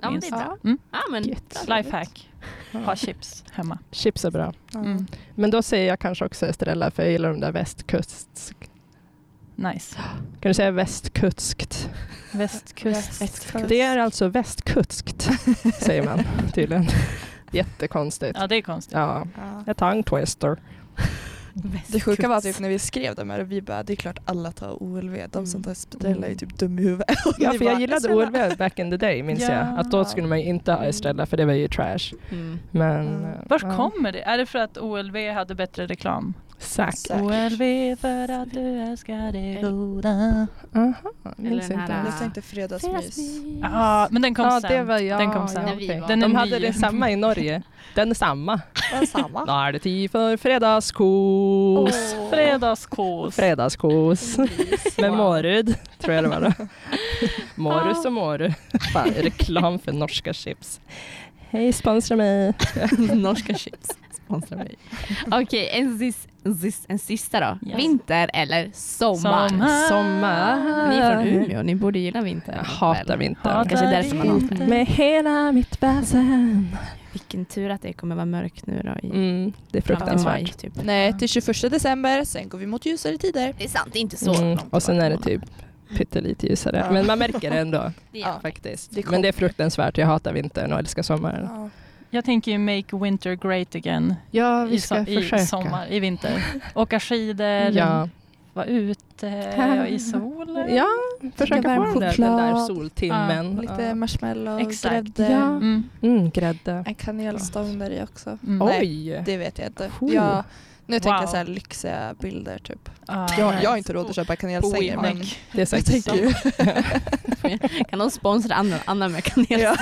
B: Ja, men det är
D: Minst.
B: bra.
D: Mm.
B: Ja, men,
C: Gött.
D: Lifehack.
C: Ja.
D: Ha chips hemma.
C: Chips är bra.
D: Mm.
C: Men då säger jag kanske också Estrella för jag gillar de där västkust...
D: Nice.
C: Kan du säga västkuskt?
D: Västkust.
A: Västkust.
C: Det är alltså västkuskt säger man tydligen. Jättekonstigt.
D: Ja, det är konstigt.
C: Ja,
A: Ja.
C: jag tongue twister.
A: Det sjuka var typ när vi skrev de här, vi bara det är klart alla tar OLV, de som tar Estrella är
D: Mm.
A: ju typ dum i huvudet.
C: Ja,
A: Ni
C: för jag
A: bara,
C: gillade
A: "Estrella."
C: OLV back in the day, minns
D: Ja.
C: jag. Att då skulle man ju inte ha Estrella, för det var ju trash.
B: Mm.
C: Men... eh,
A: Mm.
D: Var
C: ja.
D: kommer det? Är det för att OLV hade bättre reklam?
C: Säkert.
D: OLV för att du älskar det goda.
C: Aha,
B: Eller
C: minns
B: den
C: inte.
B: här,
C: alls.
A: Jag tänkte fredagsmys.
D: Ja,
C: Ah.
D: men den kom
C: Ja,
D: sen.
C: det var jag.
D: Den kom sen.
C: Ja,
B: När vi
C: okej.
B: var-
D: Den är
C: De
D: ny.
C: hade det samma i Norge. Den är samma.
A: Men samma.
C: Då är det tid för fredagskos.
A: Ah. Åh.
D: Fredagskos.
C: Fredagskos. Med Mårud, tror jag det var då. Mårus
D: Ah.
C: och Måru. Fan, reklam för norska chips. Hej, sponsra mig.
B: Norska chips. Sponsra mig. Okej, en, sis, en, sis, en sista då.
D: Yes.
B: Vinter eller sommar?
D: Sommar.
C: Sommar.
B: Ni är från Umeå, ni borde gilla vinter.
C: Jag hatar vintern.
D: Hatar
B: Kanske därför man hatar
D: vinter.
C: Med hela mitt väsen.
B: Vilken tur att det kommer vara mörkt nu då i
C: Mm, det är
B: fram till maj,
C: fruktansvärt.
B: typ.
A: Nej, till 21 december, sen går vi mot ljusare tider.
B: Det är sant, det är inte så
C: Mm.
B: långt
C: Och sen
B: bort.
C: är det typ pyttelite ljusare.
A: Ja.
C: Men man märker det ändå
B: Ja.
C: faktiskt.
A: Det
C: Men det är fruktansvärt. Jag hatar vintern och älskar sommaren.
A: Ja.
D: Jag tänker ju make winter great again.
C: Ja,
D: I, so- I sommar, i vinter. Åka skidor,
C: Ja,
D: vara ute och i solen.
C: ja försöka
A: Lite
C: få
A: varm
C: den där, den där
A: choklad.
C: soltimmen.
A: Lite
C: Ja.
A: marshmallow,
D: Exakt.
A: grädde,
C: Ja.
D: Mm.
C: Mm, grädde.
A: en kanelstångberry också.
D: Mm.
A: Oj.
C: Oj!
A: Det vet jag inte.
C: Oh.
A: Jag, nu tänker
D: Wow.
A: jag så här lyxiga bilder typ.
D: Ah,
A: Jag, jag har inte råd att köpa kanelstänger men
C: Det är
A: jag
C: säkert
A: tänker ju,
B: Kan de sponsra Anna, Anna med kanel?
A: Ja.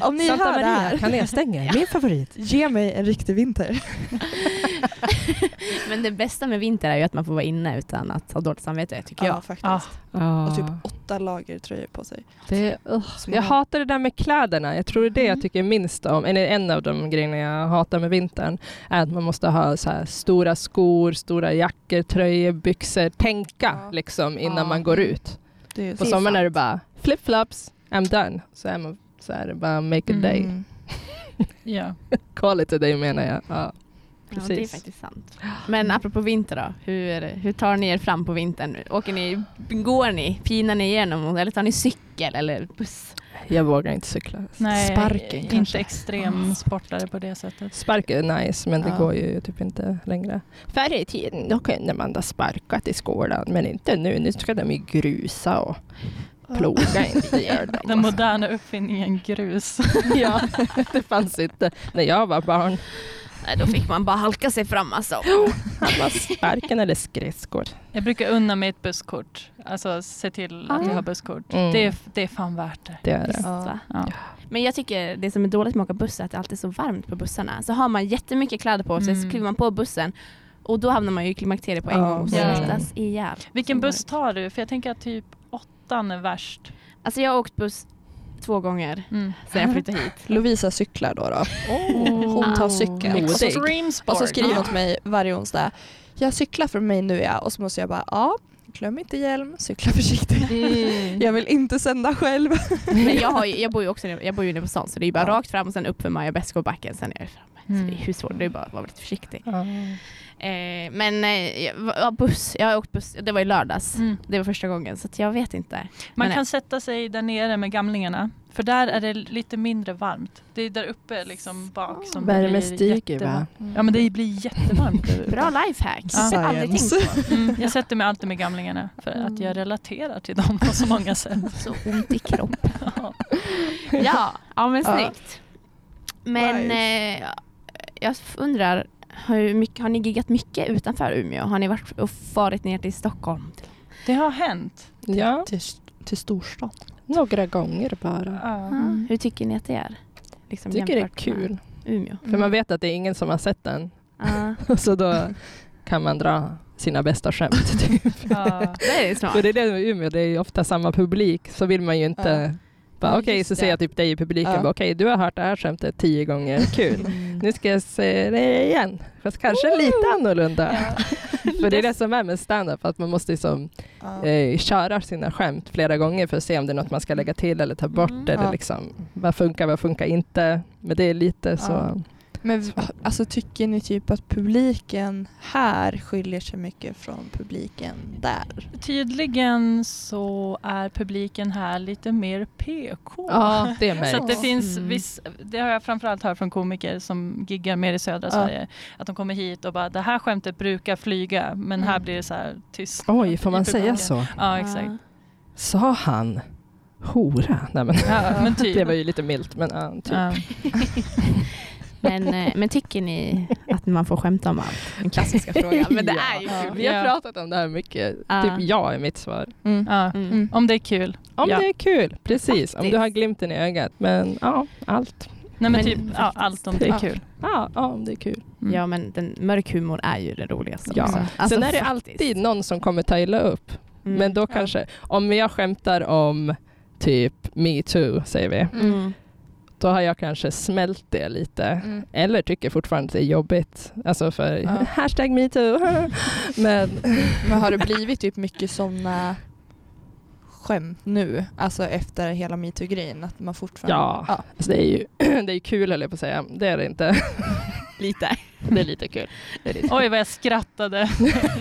A: om ni hör det här,
C: kanelstänger, min favorit.
A: ge mig en riktig vinter.
B: Men det bästa med vinter är ju att man får vara inne utan att ha dåligt samvete tycker
A: Ja,
B: jag.
A: faktiskt.
D: Ah.
A: Och typ åtta lager tröjor på sig.
C: Det, ugh.
A: Som
C: jag
A: man-
C: hatar det där med kläderna. Jag tror det är det
A: Mm.
C: jag tycker minst om. Eller en av de grejerna jag hatar med vintern är att man måste ha så här stora skor, stora jackor, tröjor, byxor. Tänka
A: Ja.
C: liksom innan
B: Ja.
C: man går ut.
A: Det är
C: På
A: så-
C: sommaren är det bara flip-flops, I'm done. Så är man så här, bara make a day.
A: Mm.
D: Ja.
C: Call it a day menar jag. Ja.
B: Ja, det är
C: precis.
B: faktiskt sant. Men apropå vinter då, hur, hur tar ni er fram på vintern? Åker ni, går ni, pinar ni igenom eller tar ni cykel eller buss?
C: Jag vågar inte cykla.
D: Nej,
A: Sparken
D: inte
A: kanske.
D: extrem sportare på det sättet.
C: Spark är nice, men det
B: Ja.
C: går ju typ inte längre. Förr i tiden då kunde man ha sparkat i skolan, men inte nu. Nu ska de ju grusa och ploga. inte gör de.
D: Den moderna uppfinningen grus.
C: Ja, det fanns inte när jag var barn.
B: Nej, då fick man bara halka sig fram alltså.
C: Han var sparken eller skridskor.
D: Jag brukar unna mig ett busskort. Alltså se till
A: Ah.
D: att jag har busskort.
C: Mm.
D: Det, är, det är fan värt det.
C: Det är det.
A: Ja.
D: Ja.
B: Men jag tycker det som är dåligt med att åka buss är att det alltid är så varmt på bussarna. Så har man jättemycket kläder på sig så
D: Mm.
B: kliver man på bussen och då hamnar man ju i klimakteriet på en
C: Ja,
B: gång och
D: verkligen.
B: svettas ihjäl.
D: Vilken
B: Som
D: buss
B: vanligt.
D: tar du? För jag tänker att typ åttan är värst.
B: Alltså jag har åkt buss två gånger
A: Mm.
B: sedan jag flyttade hit.
A: Lovisa cyklar då. då. Hon tar cykeln.
C: Modig.
A: Och så,
D: Oh. Extreme
A: och
D: sport.
A: så skriver
B: Ah.
A: hon till mig varje onsdag. Jag cyklar för mig nu ja. Och så måste jag bara ja, glöm inte hjälm, cykla försiktigt.
D: Mm.
A: Jag vill inte sända själv.
B: Men jag, har, ju- jag bor ju också jag bor ju inne på stan så det är ju bara
A: Ja.
B: rakt fram och sen upp för Maja Besk och backen sen är jag framme. Så det är hur svårt, det är bara att vara lite försiktig.
C: Ja.
B: Eh, men eh, jag- ja, buss, jag har åkt buss, det var i lördags.
D: Mm.
B: Det var första gången så att jag vet inte.
D: Man
B: Men-
D: kan sätta sig där nere med gamlingarna. För där är det lite mindre varmt. Det är där uppe liksom
A: Ah.
D: bak som det
C: Värme
D: blir
C: stiger va?
D: jättevarmt. Ja men det blir jättevarmt. där uppe.
B: eh, Bra lifehack!
D: Ja.
B: Det har jag Mm. Ah. aldrig tänkt
A: Science.
B: på.
D: Mm, jag sätter mig alltid med gamlingarna för att jag relaterar till dem på så många sätt.
B: Så ont i kroppen. ja, ja men
A: Ja.
B: snyggt. Men eh, jag undrar, hur mycket, har ni giggat mycket utanför Umeå? Har ni varit och farit ner till Stockholm?
D: Det har hänt.
C: Ja,
A: Till, till storstan.
C: några gånger bara.
B: Mm. Hur tycker ni att det är? Liksom
C: Jag tycker det
B: jämfört
C: är
B: med
C: kul.
B: Umeå.
C: För man vet att det är ingen som har sett den.
B: Ja,
C: Så då kan man dra sina bästa skämt.
D: Ja.
B: det är det smart.
C: För det är det med Umeå, det är ju ofta samma publik. Så vill man ju inte bara
B: Ja,
C: okej,
B: just
C: så
B: det.
C: ser jag typ dig i publiken.
A: Ja.
C: bara Okej, du har hört det här skämtet tio gånger. Kul.
B: Mm.
C: Nu ska jag se det igen. Fast kanske lite annorlunda. För det är det som är med stand-up, att man måste liksom
A: Ja.
C: eh, köra sina skämt flera gånger för att se om det är något man ska lägga till eller ta bort
B: Mm.
C: eller
A: Ja.
C: liksom vad funkar, vad funkar inte. Men det är lite så.
A: Men v- alltså, tycker ni typ att publiken här skiljer sig mycket från publiken där?
D: Tydligen så är publiken här lite mer PK.
C: det
D: Så
A: märks.
D: att det finns
C: Mm.
D: viss, det har jag framförallt hört från komiker som giggar mer i södra
A: Ja.
D: Sverige. Att de kommer hit och bara det här skämtet brukar flyga men här
A: Mm.
D: blir det så här tyst.
C: Oj, får
D: i
C: man
D: publiken.
C: säga så?
D: Ja exakt.
C: Sa han hora? Nej, men,
D: Ja, men typ.
C: det var ju lite milt, men ja, typ.
D: Ja.
B: Men, eh, men tycker ni att man får skämta om allt? Den klassiska frågan. Men det är ju
A: Ja.
B: kul.
C: Vi har
D: Ja.
C: pratat om det här mycket.
B: Ja.
C: Typ ja är mitt svar.
D: Ja.
B: Mm.
D: Om det är kul.
C: Om
D: Ja.
C: det är kul, precis. Om
B: Faktiskt.
C: du har glimten i ögat. Men ja, allt.
D: Nej men,
B: Men typ.
D: typ ja, allt om det
C: Ja.
D: är kul.
C: Ja, ja om det är kul.
D: Mm.
B: Ja men den mörk humor är ju det roligaste
C: Ja.
B: också.
C: Sen är det
B: Alltså, faktiskt.
C: Det är någon som kommer ta illa upp.
B: Mm.
C: Men då kanske, om jag skämtar om typ metoo, säger vi,
B: Mm.
C: då har jag kanske smält det lite.
A: Mm.
C: Eller tycker fortfarande att det är jobbigt. Alltså för
A: Ja.
C: hashtag metoo. Men
A: Men har det blivit typ mycket sådana skämt nu? Alltså efter hela metoo-grejen? Att man fortfarande...
C: ja, alltså det är ju det är ju kul höll jag på att säga. Det är det inte.
B: Lite.
C: Det är lite kul. Det är lite
D: Oj vad jag skrattade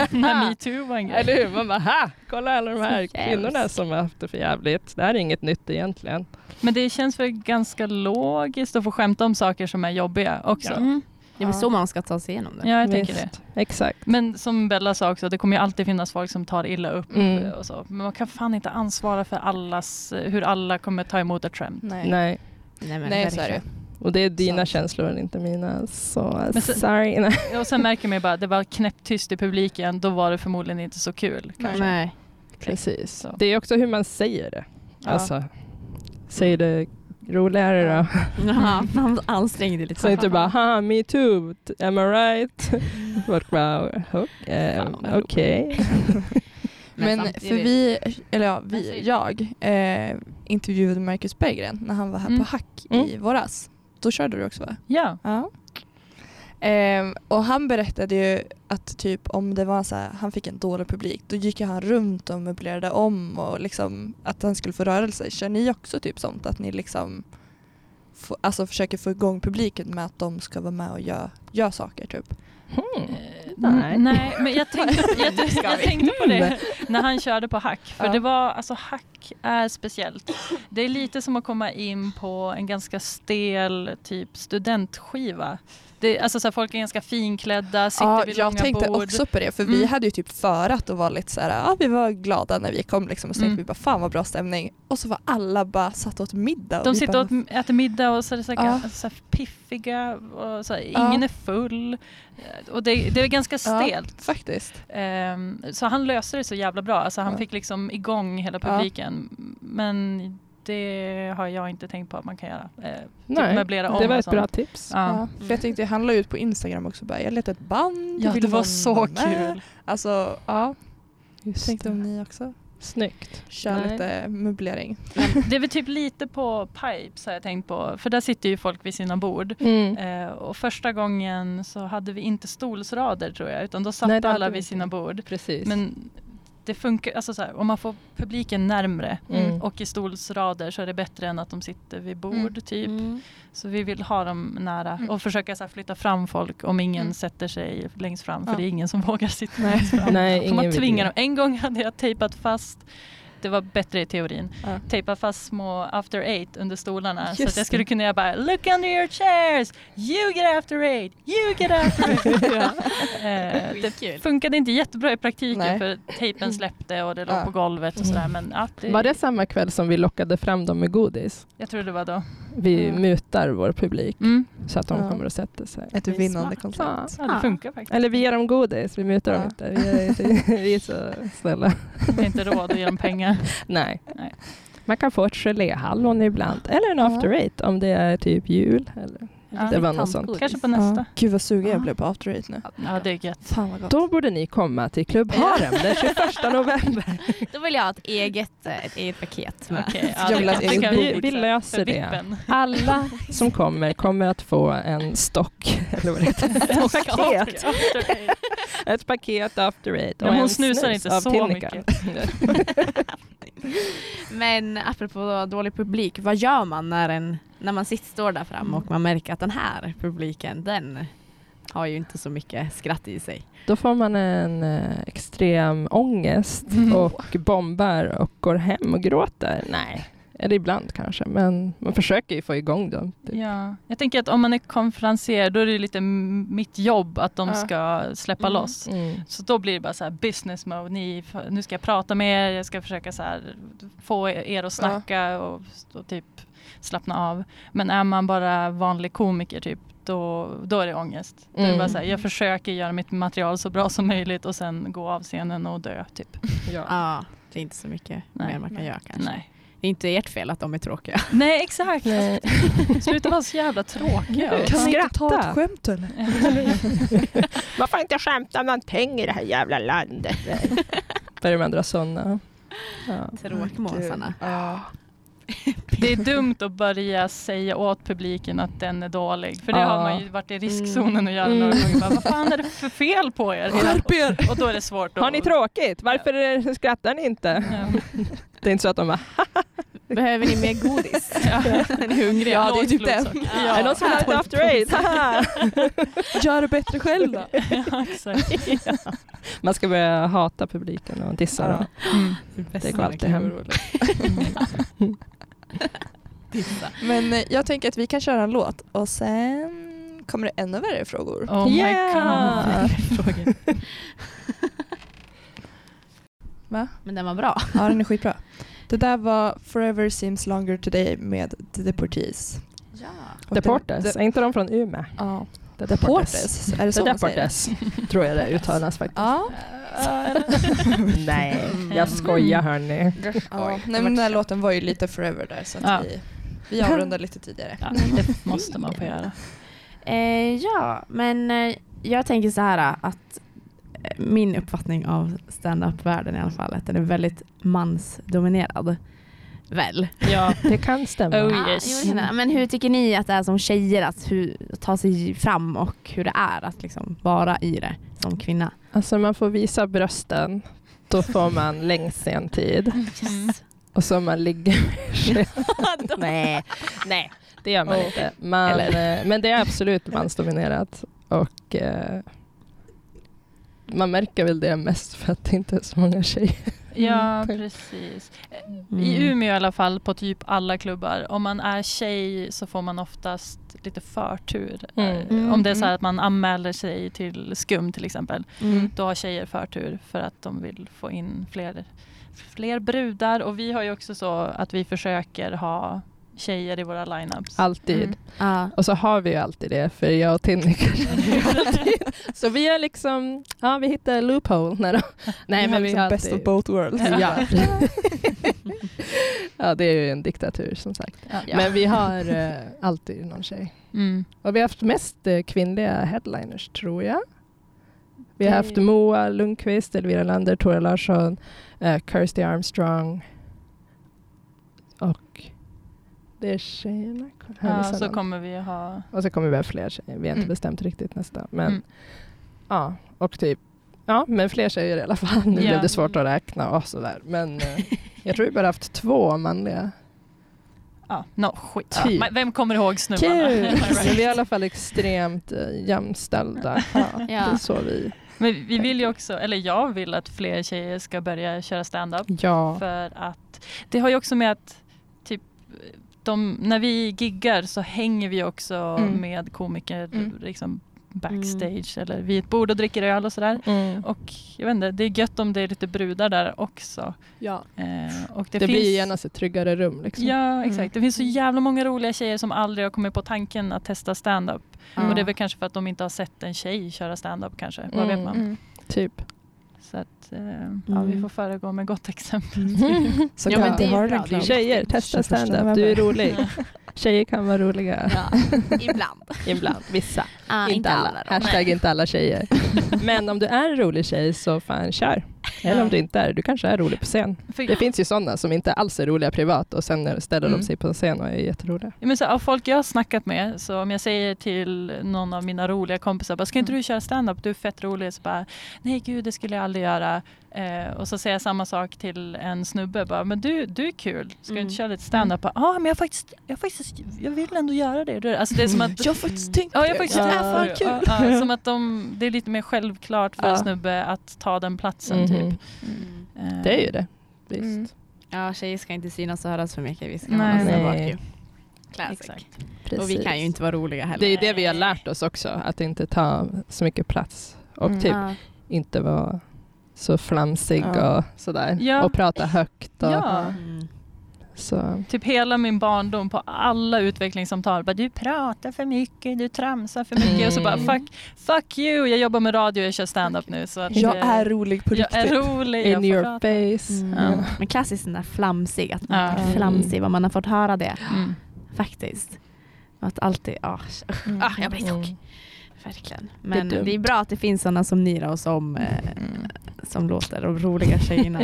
D: när metoo var en grej.
C: Eller hur? Man bara, ha! Kolla alla de här
B: Så jävligt.
C: kvinnorna som har haft det för jävligt. Det här är inget nytt egentligen.
D: Men det känns väl ganska logiskt att få skämta om saker som är jobbiga också. Ja,
B: Mm. Det är väl
A: Ja.
B: så man ska ta sig igenom det.
D: jag tänker det.
C: Visst. Exakt.
D: Men som Bella sa också, det kommer ju alltid finnas folk som tar illa upp
C: Mm.
D: och så. Men man kan fan inte ansvara för allas, hur alla kommer ta emot ett skämt.
A: Nej.
C: Nej.
B: Nej, men
A: Nej, så
B: verkligen.
A: är det.
C: Och det är dina
A: Sant.
C: känslor, inte mina. Så
D: Men så-
C: sorry. Nej.
D: Och sen märker man ju bara att det var knäpptyst i publiken, då var det förmodligen inte så kul. Kanske.
B: Nej.
C: Precis.
D: Så.
B: Alltså.
C: Det är också hur man säger det.
A: Ja.
C: Alltså, säger det roligare då.
B: Ja, man ansträngde dig lite.
C: Så inte bara haha me too, t- am I right? Folk bara "Ok, eh,
B: Fan, vad
C: okej.
A: Men för
B: samtidigt-
A: vi, eller ja,
B: Men
A: vi,
B: säg-
A: jag eh, intervjuade Marcus Berggren när han var här
D: Mm.
A: på Hack i
C: Mm.
A: våras. Då körde du också va?
D: Ja.
A: Ja. Ehm, och han berättade ju att typ om det var så här, han fick en dålig publik då gick ju han runt och möblerade om och liksom att han skulle få rörelse. Kör ni också typ sånt att ni liksom få, alltså försöker få igång publiken med att de ska vara med och göra gör saker typ?
C: Hmm.
D: Nej.
C: Nej.
D: Mm, Nej, men jag tänkte, jag, jag tänkte på det när han körde på hack. För
A: Ja.
D: det var, alltså hack är speciellt. Det är lite som att komma in på en ganska stel typ studentskiva. Det, alltså så här, folk är ganska finklädda, sitter
A: Ja,
D: vid
A: jag
D: långa
A: tänkte
D: bord.
A: också på det för vi
D: Mm.
A: hade ju typ förat och var lite så här, ja vi var glada när vi kom liksom och så tänkte
D: Mm.
A: vi bara fan vad bra stämning och så var alla bara satt åt middag. och
D: De
A: vi
D: sitter
A: bara,
D: och äter middag och så är det så här,
A: Ja.
D: alltså så här piffiga och så här,
A: Ja.
D: ingen är full. Och det, det är ganska
A: Ja.
D: stelt.
A: Faktiskt.
D: Ehm, så han löste det så jävla bra. Alltså han
A: Ja.
D: fick liksom igång hela
A: Ja.
D: publiken. Men det har jag inte tänkt på att man kan göra. Eh,
C: Nej,
D: möblera om
C: det var
D: och
C: ett
D: sånt.
C: bra tips.
D: ja. Mm.
A: Ja. För jag tänkte, han la ut på Instagram också bara, jag letar ett band.
D: Ja,
A: vill
D: det var
A: någon
D: så
A: vara med?"
D: kul.
A: Alltså, ja.
C: Just
A: Tänkte
C: det.
A: om ni också
C: Snyggt.
A: kör
C: Nej.
A: lite möblering.
D: Det är väl typ lite på Pipes har jag tänkt på. För där sitter ju folk vid sina bord.
C: Mm.
D: Eh, och första gången så hade vi inte stolsrader tror jag. Utan då satt
C: Nej, det
D: alla
C: hade vi
D: vid sina
C: inte.
D: bord.
C: Precis.
D: Men det funkar, alltså så här, om man får publiken närmre
C: Mm.
D: och i stolsrader så är det bättre än att de sitter vid bord
A: Mm.
D: typ. Så vi vill ha dem nära och försöka så här, flytta fram folk om ingen
A: Mm.
D: sätter sig längst fram för
A: Ja.
D: det är ingen som vågar sitta
A: Nej.
D: längst fram.
C: Nej,
D: Får man
C: ingen vill
D: tvinga
C: det.
D: dem. En gång hade jag tejpat fast det var bättre i teorin.
A: Ja.
D: Tejpa fast små after eight under stolarna så
C: Just
D: att jag
C: det.
D: skulle kunna göra bara look under your chairs, you get after eight, you get after eight. Eh, det
B: Skitkul.
D: funkade inte jättebra i praktiken
A: Nej.
D: för tejpen släppte och det låg
A: Ja.
D: på golvet och sådär men ja, det,
C: Mm. Var det samma kväll som vi lockade fram dem med godis?
D: jag tror det var då.
C: Vi
A: Ja.
C: mutar vår publik
D: Mm.
C: så att de
A: Ja.
C: kommer att sätta sig.
A: Ett
D: Det är
A: vinnande
D: smart.
A: koncept.
D: Ja, det
B: Ja.
D: funkar faktiskt.
C: Eller vi ger dem godis, vi mutar
A: Ja.
C: dem inte. Vi är, vi är så snälla.
D: Vi har inte råd att ge dem pengar.
C: Nej.
D: Nej.
C: Man kan få ett geléhallon ibland, eller en
A: Ja.
C: after eight om det är typ jul. Eller.
D: Ja.
C: Det var något sånt.
D: Kanske på nästa.
A: Gud vad sugen jag
B: Ja.
A: blev på after eight nu.
D: Ja, det är gött.
A: Fan vad gott.
C: Då borde ni komma till Klubb Harem den 21 november.
B: Då vill jag ha ett eget, eh, ett eget paket med.
D: Okej,
A: Jag vill ha
D: det-
A: ett
D: det
A: eget
D: kan
A: bord.
D: fixa.
C: Vi löser
D: För
C: det.
D: vippen.
C: Alla som kommer kommer att få en stock, eller vad det heter, ett paket. Ett paket after eight och
D: Men hon
C: en
D: snusar
C: snus
D: inte
C: av
D: så
C: Tinnika.
B: Men apropå dålig publik, vad gör man när, en, när man sitter står där fram och man märker att den här publiken, den har ju inte så mycket skratt i sig.
C: Då får man en eh, extrem ångest
D: Mm.
C: och bombar och går hem och gråter. Nej, eller ibland kanske, men man försöker ju få igång dem. typ.
D: Ja. Jag tänker att om man är konferenser då är det lite m- mitt jobb att de
A: Ja.
D: ska släppa
B: Mm.
D: loss.
C: Mm.
D: Så då blir det bara så här business mode. Ni, f- nu ska jag prata med er, jag ska försöka så här, få er att snacka och, och typ slappna av. Men är man bara vanlig komiker typ, då, då är det ångest. Då är det
C: Mm.
D: bara så här, jag försöker göra mitt material så bra som möjligt och sen gå av scenen och dö typ.
C: Ja.
B: Ja, det är inte så mycket
D: Nej.
B: mer man kan
A: Nej.
B: göra kanske.
D: Nej.
B: Det är inte ert fel att de är tråkiga.
D: Nej exakt.
C: Nej.
D: Sluta vara så jävla tråkiga.
C: Ja.
A: Kan ni inte ta
C: Skratta.
A: ett skämt eller?
C: Man får inte skämta om någonting i det här jävla landet. Börjar man dra sådana. Ja.
B: Tråkmåsarna.
A: Ja.
D: Det är dumt att börja säga åt publiken att den är dålig. För det
C: Ja.
D: har man ju varit i riskzonen att göra
C: Mm.
D: några gånger. Bara, Vad fan är det för fel på er?
A: Skärp er!
D: Och då är det svårt att...
C: Har ni tråkigt? Varför eh, skrattar ni inte?
D: Ja.
C: Det är inte så att de bara,
B: Behöver ni mer godis?
D: Ja.
B: Är ni hungriga?
A: Ja, det är typ
D: Lågt
A: det.
D: blodsocker.
B: Ja.
C: är det någon som har ätit after eight? Haha.
A: Gör det bättre själv då.
D: Ja, exakt.
C: Man ska börja hata publiken och dissa
A: Ja.
C: dem.
D: Mm.
C: Det går alltid hem.
A: Men eh, jag tänker att vi kan köra en låt och sen kommer det ännu värre frågor.
D: Oh my
C: Yeah.
D: god.
B: Men den var bra.
A: Ja, den är skitbra. Det där var Forever Seems Longer Today med The Deportees. Och det-
C: Deportes,
A: det-
C: är inte de från Umeå?
A: Ja.
C: The
A: Deportes, är det så
C: The
A: man säger? det?
C: Deportes, tror jag det uttalas faktiskt.
A: Ja.
C: Nej, jag skojar hörni. Mm.
A: ja. Nej, men den här låten var ju lite Forever där så att
D: Ja.
A: vi Vi avrundar lite tidigare.
D: Ja, det måste man få göra.
B: Eh, ja, men eh, jag tänker så här att eh, min uppfattning av stand-up-världen i alla fall, att den är väldigt mansdominerad. Väl?
D: Ja,
C: Det kan stämma.
D: Oh,
B: Ja,
D: yes.
B: jo, det kan jag. Men hur tycker ni att det är som tjejer att hur, ta sig fram och hur det är att liksom vara i det som kvinna?
C: Alltså man får visa brösten, då får man längst sen tid. Och så man ligger Nej, nej, det gör man
D: Oh.
C: inte. Man, eh, men det är absolut mansdominerat. Och eh, man märker väl det mest för att det inte är så många tjejer. Mm,
D: ja precis.
B: Mm.
D: I Umeå i alla fall på typ alla klubbar. Om man är tjej så får man oftast lite förtur. Eh,
C: Mm.
B: Mm,
D: Om det är så här
B: mm.
D: att man anmäler sig till SKUM till exempel.
B: Mm.
D: Då har tjejer förtur för att de vill få in fler, fler brudar. Och vi har ju också så att vi försöker ha tjejer i våra lineups.
C: Alltid.
A: Mm.
B: Ja.
C: Och så har vi ju alltid det, för jag och Tinny kanske Så vi är liksom, ja vi hittar loophole. Nej, då. nej men vi
A: liksom
C: har
A: best of
C: alltid...
A: both worlds.
C: Ja. ja, det är ju en diktatur som sagt.
D: Ja.
C: Men vi har eh, alltid någon tjej.
D: Mm.
C: Och vi har haft mest eh, kvinnliga headliners tror jag. Vi
D: Det-
C: har haft Moa Lundqvist, Elvira Lander, Tora Larsson, eh, Kirsty Armstrong och det är tjejerna. Här
D: Ja,
C: missar
D: så
C: någon.
D: kommer vi ha...
C: Och så kommer vi ha fler tjejer. Vi har inte
A: Mm.
C: bestämt riktigt nästa. Men
D: Mm.
C: ja, och typ Ja, men fler tjejer i alla fall. Nu
D: Ja.
C: blev det svårt att räkna och sådär. Men eh, jag tror vi bara haft två manliga.
D: Ja, no, skit.
C: Typ.
D: Ja, men vem kommer ihåg snubbarna?
C: Kul!
D: Am I right?
C: Men vi är i alla fall extremt eh, jämställda. Ja,
B: Ja.
C: Det är så vi...
D: Men vi vill ju också, eller jag vill att fler tjejer ska börja köra stand-up.
C: Ja.
D: För att det har ju också med att typ de, när vi giggar så hänger vi också
A: Mm.
D: med komiker
A: Mm.
D: liksom backstage eller vid ett bord och dricker öl och sådär.
C: Mm.
D: Och jag vet inte, det är gött om det är lite brudar där också.
C: ja.
D: Eh, och
C: Det,
D: finns-
C: blir ju genast ett tryggare rum. Liksom.
D: Ja, exakt.
A: Mm.
D: Det finns så jävla många roliga tjejer som aldrig har kommit på tanken att testa stand-up.
B: Ja.
D: Och det är väl kanske för att de inte har sett en tjej köra stand-up kanske. Vad
C: Mm. Mm.
D: vet man?
A: Mm.
C: Typ.
D: Så att, eh, ja, vi får föregå med gott exempel.
A: Så
B: Ja,
A: kan-
B: men det är
A: vi har
B: bra.
A: den
B: Det är
A: klart.
B: ju-
C: Tjejer, testa
A: 21
C: stand-up. Du
A: november.
C: är rolig. Tjejer kan vara roliga.
B: Ja. Ibland.
C: Ibland. Vissa.
B: Ah,
C: inte, alla.
B: då.
C: Hashtag inte alla tjejer. Men om du är en rolig tjej så fan kör. Eller om du inte är Du kanske är rolig på scen.
D: För,
C: Det finns ju sådana som inte alls är roliga privat och sen ställer
A: Mm.
C: de sig på en scen och är jätteroliga.
D: Ja, men så, här, av folk jag har snackat med, så om jag säger till någon av mina roliga kompisar, bara, ska inte du köra stand-up? du är fett rolig. Så bara, nej gud det skulle jag aldrig göra. Eh, och så säger jag samma sak till en snubbe, bara, men du, du är kul, ska du
B: Mm.
D: inte köra lite stand-up? Ja ah, men jag har faktiskt, jag har faktiskt, jag vill ändå göra det. Du vet, Alltså det är som att
A: Jag har faktiskt tänkt
D: Ja,
A: på
D: jag har faktiskt
A: det
D: tänkt
A: här
D: på
A: var kul.
D: Ja, ja, som att de, det är lite mer självklart för
C: Ja.
D: en snubbe att ta den platsen.
C: Mhm.
D: Typ.
B: Mm.
D: Eh,
C: Det är ju det. Visst.
A: Mm.
B: Ja, tjejer ska inte synas och höras för mycket. Vi ska
D: Nej.
B: hålla oss där bak
C: Nej.
B: ju. Classic.
D: Exakt.
C: Precis.
B: Och vi kan ju inte vara roliga heller.
C: Det är ju det vi typ. har lärt oss också, att inte ta så mycket plats och
A: Mm.
C: typ
B: Ja.
C: inte vara så flamsig
A: Ja.
C: och sådär.
D: Ja.
C: Och prata högt. Och
D: Eh, Ja,
B: Mm.
C: så.
D: typ hela min barndom på alla utvecklingssamtal. Bara, du pratar för mycket, du tramsar för mycket. Och så bara
C: Mm.
D: fuck, fuck you, jag jobbar med radio, jag kör stand-up nu. Så att
A: Jag
D: det-
A: är rolig på
D: jag
A: riktigt.
D: är rolig, jag
C: In
D: får
C: your
D: prata.
C: face.
B: Mm.
D: Ja.
B: Men klassiskt den där flamsig, att man
D: Ja.
B: är flamsig, vad man har fått höra det
D: Mm.
B: faktiskt. Att alltid, ah,
A: Mm.
B: ah, jag blir
C: Mm.
B: tokig. Verkligen. Men det
C: dumt.
B: är, bra att det finns sådana som ni då, som, eh, som låter de roliga tjejerna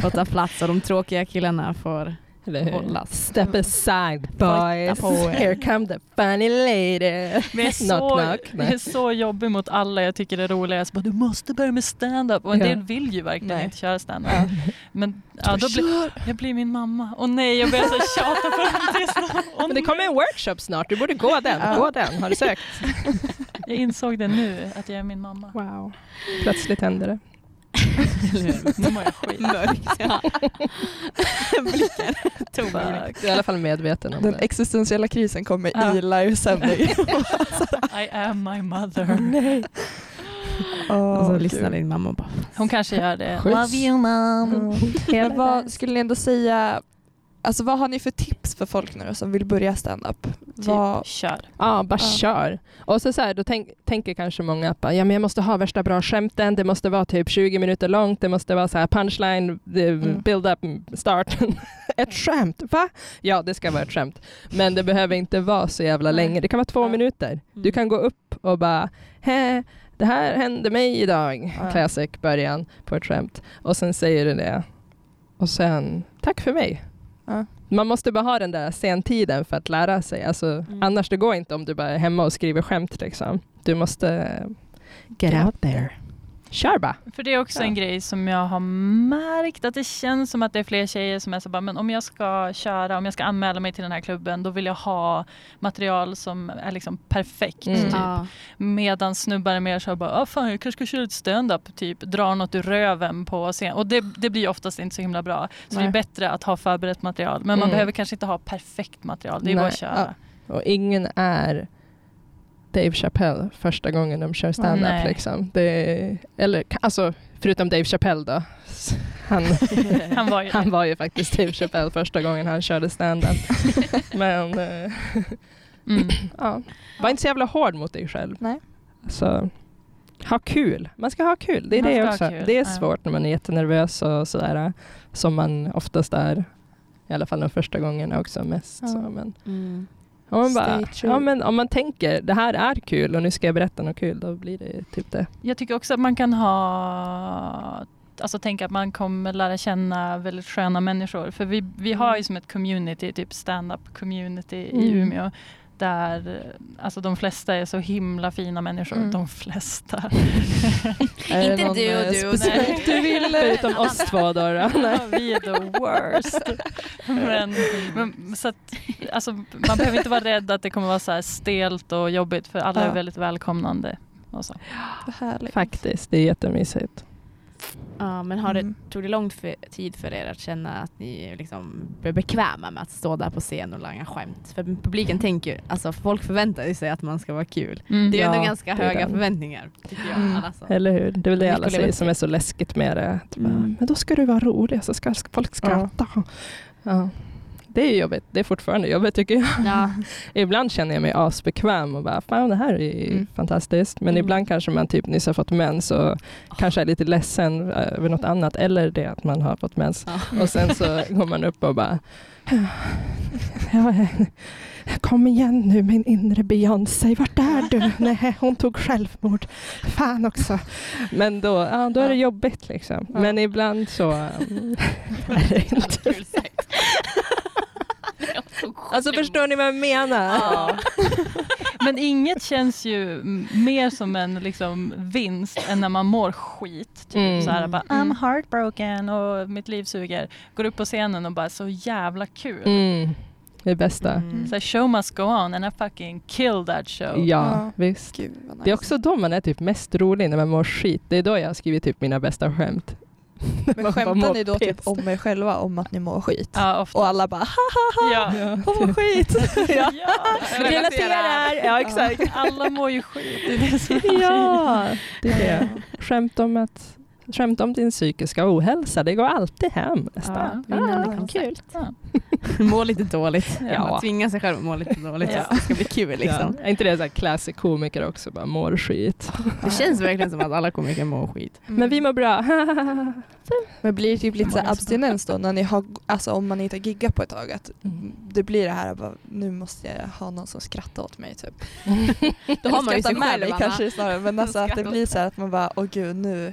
B: får ta plats och de tråkiga killarna får
C: Eller hur?
B: hållas.
C: Step aside boys.
B: på er.
C: Here come the funny lady.
D: Men jag är så,
C: Knock, knock.
D: jag är
C: Nej.
D: så jobbig mot alla jag tycker det är roliga. Jag så bara, du måste börja med stand-up. Och en
C: Ja.
D: del vill ju verkligen
A: Nej.
D: inte köra
A: Mm.
D: stand-up. Men ja, då blir,
A: Kör!
D: jag blir min mamma. Och nej, jag börjar så här tjata på den. Det är så- Åh,
C: Men det kommer en workshop snart, du borde gå den.
A: Ja.
C: Gå den, har du sökt?
D: Jag insåg det nu, att jag är min mamma.
C: Wow. Plötsligt händer det.
D: Nu mår jag skit.
B: Blicken. Tom blick.
C: Jag är i alla fall medveten om
A: Den
C: det.
A: existentiella krisen kommer
D: Ja.
A: i livesändning.
D: I am my mother.
B: Och så
A: Åh,
B: lyssnar
A: gud.
B: din mamma och bara,
D: Hon kanske gör det.
C: Schysst.
D: mom.
A: Men vad skulle ni ändå säga, alltså vad har ni för tips för folk nu då, som vill börja stand-up? Vad,
D: Typ, kör.
C: Ja, bara
A: Ja.
C: kör. Och så, så här, då tänk, tänker kanske många att bara, ja, men jag måste ha värsta bra skämten, det måste vara typ 20 minuter långt, det måste vara så här punchline, the
A: Mm.
C: build up, start. ett skämt, va? Ja, det ska vara ett skämt. Men det behöver inte vara så jävla
D: Nej.
C: länge. Det kan vara två
D: Ja.
C: minuter. Du kan gå upp och bara Hä, det här hände mig idag.
A: Ja.
C: Classic början på ett skämt. Och sen säger du det. Och sen, tack för mig.
A: Ja.
C: Man måste bara ha den där sentiden för att lära sig. Alltså,
A: Mm.
C: Annars det går inte om du bara är hemma och skriver skämt. Liksom. Du måste get out there. Kör bara.
D: För det är också
C: Ja.
D: en grej som jag har märkt att det känns som att det är fler tjejer som är så bara, men om jag ska köra, om jag ska anmäla mig till den här klubben, då vill jag ha material som är liksom perfekt.
C: Mm.
D: Typ.
B: Ja.
D: Medan snubbar är mer så här bara, ah, fan jag kanske ska köra ett stand-up, typ dra något ur röven på scen. Och det, det blir oftast inte så himla bra. Så det
C: Nej.
D: är bättre att ha förberett material. Men man
C: Mm.
D: behöver kanske inte ha perfekt material, det är bara
C: Nej,
D: att köra.
C: Och ingen är Dave Chappelle första gången de kör
D: Nej.
C: stand-up. Liksom. Det är, eller, ka- alltså, förutom Dave Chappelle då. S- Han,
D: Han var ju
C: han var ju faktiskt Dave Chappelle första gången han körde stand-up. Men eh,
D: mm.
C: ja, var inte så jävla hård mot dig själv.
A: Nej.
C: Så, ha kul. Man ska ha kul. Det är
D: Man ska
C: det
D: ha
C: också.
D: kul,
C: Det är
D: ja.
C: svårt när man är jättenervös och sådär. Som man oftast är. I alla fall de första gångerna också mest.
A: Ja.
C: Så, men,
B: Mm.
C: om, man
A: Stay
C: bara,
A: true.
C: ja, men om man tänker det här är kul och nu ska jag berätta något kul, då blir det typ det.
D: Jag tycker också att man kan ha Alltså tänka att man kommer lära känna väldigt sköna människor. För vi, vi har ju som ett community, typ stand-up community i
C: Mm.
D: Umeå. Där alltså de flesta är så himla fina människor.
A: Mm.
D: De flesta.
C: Är det
B: Inte
C: någon,
B: du och
C: eh,
B: du och
C: specifik
D: nej.
C: du vill, förutom oss två då. då? Nej.
D: vi är the worst. Men, men, så att, alltså, man behöver inte vara rädd att det kommer vara så här stelt och jobbigt. För alla
A: Ja.
D: är väldigt välkomnande. Och så.
A: Typ, Vad härligt.
C: Faktiskt, det är jättemysigt.
B: Ja, men har det,
A: Mm.
B: tog det lång för, tid för er att känna att ni liksom blev bekväma med att stå där på scen och langa skämt? För publiken tänker ju, alltså folk förväntar ju sig att man ska vara kul.
D: Mm.
B: Det är ju ändå
C: Ja,
B: ganska
C: det är
B: höga
C: den.
B: förväntningar. Tycker jag.
A: Mm.
B: Alltså.
C: Eller hur? Det är väl det
B: Mycket
C: alla säger
B: leverans.
C: som är så läskigt med det. Att bara,
B: Mm.
C: Men då ska du vara rolig, så ska folk skratta. Ja. Det är ju jobbigt. Det är fortfarande jobbigt tycker jag.
B: Ja.
C: Ibland känner jag mig asbekväm och bara, fan det här är
A: Mm.
C: fantastiskt. Men
B: Mm.
C: ibland kanske man typ nyss har fått mens och kanske är lite ledsen eh, över något annat eller det att man har fått mens.
B: Ja.
C: Och sen så går man upp och bara, "Ja, kom igen nu min inre Beyoncé, vart är du? Nej, hon tog självmord. Fan också. Men då, ja, då är det
A: Ja.
C: jobbigt liksom.
A: Ja.
C: Men ibland så mm, är det inte.
B: Kul sagt. Jag tog
C: Alltså
B: själv-
C: förstår ni vad jag menar?
B: Ja.
D: Men inget känns ju m- mer som en liksom vinst än när man mår skit. Typ.
C: Mm.
D: Så här, bara,
A: Mm.
D: I'm heartbroken och mitt liv suger. Går upp på scenen och bara så jävla kul.
C: Mm, det bästa.
B: Mm.
D: Så här, show must go on and I fucking kill that show.
C: Ja,
A: Ja.
C: visst.
A: Gud, vad nice.
C: Det är också då man är typ mest rolig, när man mår skit. Det är då jag har skrivit typ mina bästa skämt.
A: Men
C: Man bara
A: skämtar
C: mår
A: ni då
C: piss.
A: typ om er själva om att ni mår skit?
D: Ja, ofta.
A: Och alla bara
D: Ja.
C: Ja.
A: hon mår skit.
D: Ja.
C: Relaterar! Ja, exakt.
D: Alla mår ju skit. Det är det som är
C: Ja, det är det. Skämt om, att, skämt om din psykiska ohälsa, det går alltid hem nästan.
D: Ja, Ah.
B: vinnande
C: Ah, vad
B: koncept.
C: kul.
D: grejen.
B: Må lite dåligt.
D: Ja.
B: Man tvingar sig själv att må lite dåligt.
D: Ja.
B: Det ska bli kul liksom.
C: Ja. Är inte det så här classic komiker också, bara mår skit.
D: Mm.
B: Det känns verkligen som att alla komiker mår skit.
A: Mm.
C: Men vi mår bra.
A: Men blir det typ lite så här
D: Många som-
A: abstinens då när ni har, alltså om man inte har giggat på ett tag att det blir det här bara, nu måste jag ha någon som skrattar åt mig typ.
B: Då
A: Eller
B: har man
A: skrattar
B: ju sig
A: med
B: själv.
A: mig
B: Anna.
A: kanske snarare men alltså att det
B: skrattar åt
A: blir så här att man bara åh gud nu,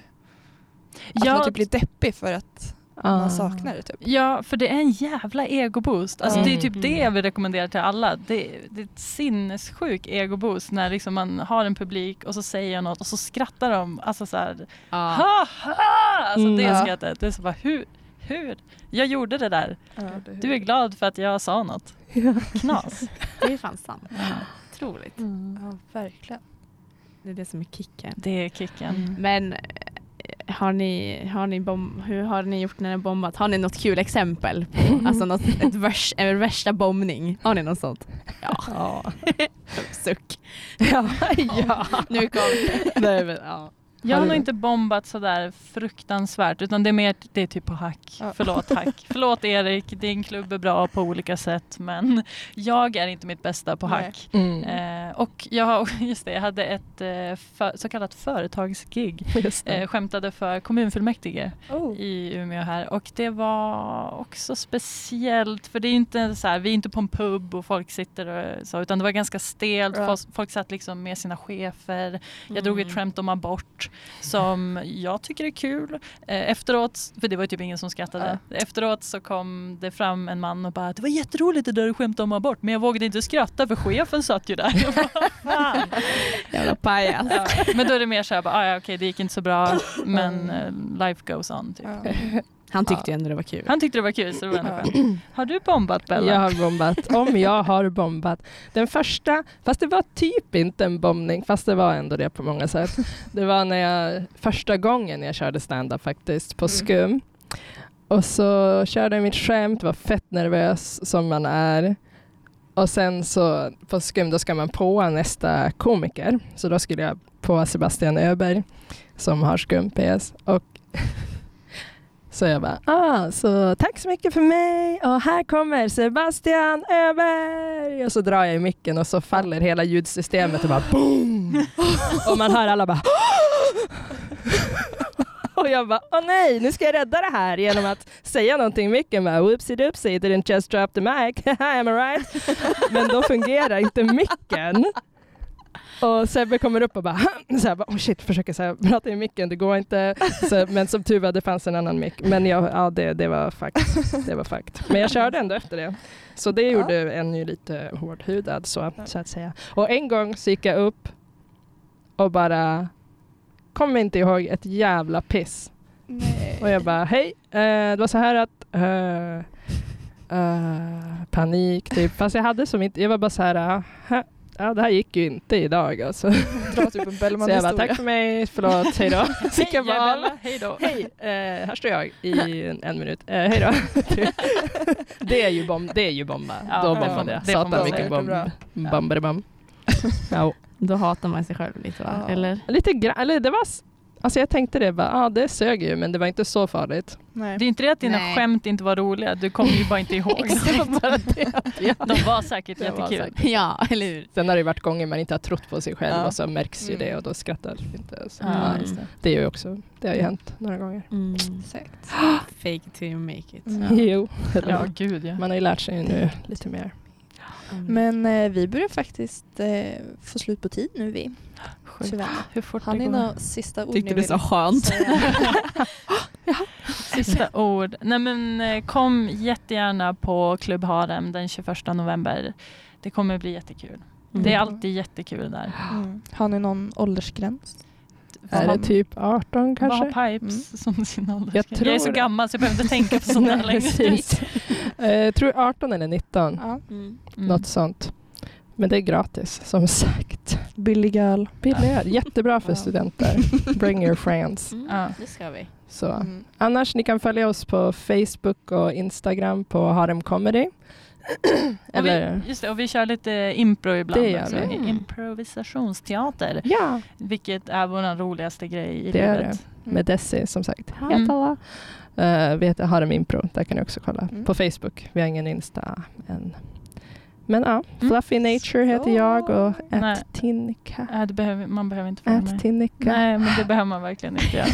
A: att man
D: Ja,
A: typ blir deppig för att
C: Ah.
A: man saknar det typ.
D: Ja, för det är en jävla egoboost. Alltså,
A: Mm.
D: Det är typ det jag vill rekommendera till alla. Det, det är ett sinnessjuk egoboost när liksom man har en publik och så säger jag något och så skrattar de. Alltså så här,
B: Ja.
D: ha ha! Alltså
C: Mm.
D: det
A: Ja.
D: skrattet. Det är så bara, hur? Hur? Jag gjorde det där.
A: Ja.
D: Du är glad för att jag sa något.
C: Ja.
D: Knas.
B: Det är fan sant. Otroligt.
A: Ja, verkligen.
B: Det är det som är kicken.
D: Det är kicken.
A: Mm.
B: Men eh, har ni, har ni bomb, hur har ni gjort när ni har bombat? Har ni något kul exempel? På, alltså något, ett vers, en värsta bombning? Har ni något sånt?
C: Ja.
B: Suck.
C: Ja. ja.
B: Nu kom det.
C: Nej, men, ja.
D: Jag har
A: du
D: nog
A: det?
D: inte bombat sådär fruktansvärt utan det är mer det är typ på hack.
A: Ja.
D: Förlåt hack. Förlåt Erik, din klubb är bra på olika sätt men jag är inte mitt bästa på
B: Nej.
D: hack.
C: Mm.
D: Eh, och jag, har- just det, jag hade ett eh, för, så kallat företagsgig.
C: Just det.
D: Eh,
A: Mm.
D: skämtade för kommunfullmäktige
A: Oh.
D: i Umeå här och det var också speciellt för det är ju inte så här, vi är inte på en pub och folk sitter och så utan det var ganska stelt,
A: Ja.
D: folk, folk satt liksom med sina chefer, jag drog
B: Mm.
D: ett skämt om abort som jag tycker är kul. Eh, Efteråt, för det var ju typ ingen som skrattade, efteråt så kom det fram en man och bara det var jätteroligt det där du skämtade om abort men jag vågade inte skratta för chefen satt ju där. Jag bara, "Fan."
B: Jävla pajas.
D: ja. Men då är det mer så här, bara, ah, ja, okej det gick inte så bra men eh, life goes on. Typ.
A: Ja.
B: Han tyckte ju ändå det var kul.
D: Han tyckte det var kul så det var ändå
A: Ja.
D: skönt. Har du bombat Bella?
C: Jag har bombat. Om jag har bombat. Den första, fast det var typ inte en bombning, fast det var ändå det på många sätt. Det var när jag, första gången jag körde stand-up faktiskt på
A: Mm.
C: SKUM. Och så körde jag mitt skämt, var fett nervös som man är. Och sen så på SKUM då ska man på nästa komiker. Så då skulle jag på Sebastian Öberg som har SKUM PS. Och så jag bara, ah, så tack så mycket för mig och här kommer Sebastian Öberg. Och så drar jag i micken och så faller hela ljudsystemet och bara boom. och man hör alla bara Och jag bara, åh nej, nu ska jag rädda det här genom att säga någonting i micken. Bara, Whoopsie doopsie, didn't just drop the mic, am I right? Men då fungerar inte micken. Och Sebbe kommer upp och bara, så här, bara oh shit, försöker så här, prata i micken, det går inte. Så, men som tur var, det fanns en annan mick. Men jag, ja, det, det var fakt. Det var fakt. Men jag körde ändå efter det. Så det gjorde en ju lite hårdhudad så, så att säga. Och en gång så gick jag upp och bara, kommer inte ihåg ett jävla piss.
A: Nej.
C: Och jag bara, hej, eh, det var så här att eh, eh, panik typ. Fast jag hade som inte, jag var bara så här, "Hä? ja det här gick ju inte idag alltså.
A: Dra typ en
C: Så jag bara, tack
A: Bellman-historia.
C: för mig, förlåt, hej då. Så gick jag
D: Hej,
C: bara,
D: Bella. Hej då.
C: hej, eh, här står jag i en, en minut, eh, hej då. det är ju bomb, det är ju bomba.
D: Ja,
C: då
D: det får man-
C: bombade jag.
D: det får man
C: Satan
D: säga.
C: vilken bomb.
A: Jättebra.
D: Ja.
C: Bomberebomb. Ja.
B: Då hatar man sig själv lite va?
A: Ja.
B: Eller?
C: Lite grann, eller det var, s- alltså jag tänkte det bara, ah, det sög ju men det var inte så farligt.
A: Nej.
D: Det är inte det att dina
B: Nej.
D: skämt inte var roliga, du kommer ju bara inte ihåg.
C: Det var bara det att jag-
D: De var säkert
C: Det var
D: jättekul.
C: säkert.
B: Ja, eller hur?
C: Sen har det varit gånger man inte har trott på sig själv
A: Ja.
C: och så märks ju
A: Mm.
C: det och då skrattar vi inte. Så.
D: Ja,
C: Ja,
D: just
C: det, är ju också, det har ju hänt några gånger.
B: Mm.
A: Exakt.
B: Fake it till you make it.
D: Mm.
C: Jo,
D: Ja, gud ja.
C: man har ju lärt sig nu lite mer.
B: Mm.
A: Men eh, vi börjar faktiskt eh, få slut på tid nu vi.
D: Sjukt.
A: Tyvärr.
D: Hur fort
A: Har
D: det
A: ni
D: går.
A: några sista ord
B: Tyckte
A: ni
B: du
A: vill
B: sa skönt?
A: säga?
D: Sista ord. Nej men eh, kom jättegärna på Klubb Harem den 21 november. Det kommer bli jättekul. Det är
A: Mm.
D: alltid jättekul där.
A: Mm. Har ni någon åldersgräns?
D: Vad
C: Är
D: har-
C: det typ 18
D: Vad har
C: kanske? Mm.
D: Pipes som sin ålder?
C: Jag
D: Jag,
C: tror
D: är så
C: det.
D: gammal så jag behöver inte tänka på sånt där
C: Nej,
D: längre.
C: precis. Eh, Jag tror 18 eller 19,
A: Ja.
B: Mm.
D: Mm.
C: något sånt. Men det är gratis, som sagt.
A: Billig öl.
C: Billigare, jättebra för
A: Ja.
C: studenter. Bring your friends.
B: Mm.
D: Ja.
B: Det ska vi.
C: Så.
A: Mm.
C: Annars, ni kan följa oss på Facebook och Instagram på Harem Comedy.
D: Och
C: Eller,
D: vi, just det, och vi kör lite impro ibland.
C: Det gör
D: också.
C: vi.
B: Mm.
D: Improvisationsteater,
C: ja,
D: vilket är vår roligaste grej i
C: Det är
D: livet.
C: med Desi som sagt.
D: Mm.
C: Heter alla. Eh, vi heter Harem Impro, där kan ni också kolla.
A: Mm.
C: På Facebook, vi har ingen Insta än. Men ja,
D: Mm.
C: Fluffy Nature heter
A: Så.
C: jag och
D: Nej.
C: att Tinnika.
D: Nej, Äh, det behöver, man behöver inte följa
C: Ät
D: med.
C: Tinnika.
D: Nej, men det behöver man verkligen inte göra.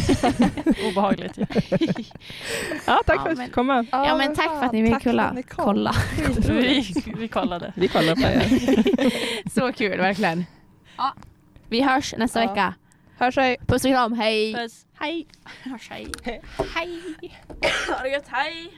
D: Obehagligt. ju.
C: Ja, tack
B: Ja,
C: för att
B: men-
C: du komma.
B: Ja men tack för att ni vill
A: Tack för
B: kolla.
A: att ni kom.
B: kolla.
D: Vi, vi kollade.
C: Vi kollar på er.
B: Så kul verkligen. Ja. Vi hörs nästa
A: Ja.
B: vecka.
A: Hörs hej.
B: Puss och kram, hej!
D: Puss.
B: Hej! Hörs, hej! Hej! Ha det gött, hej!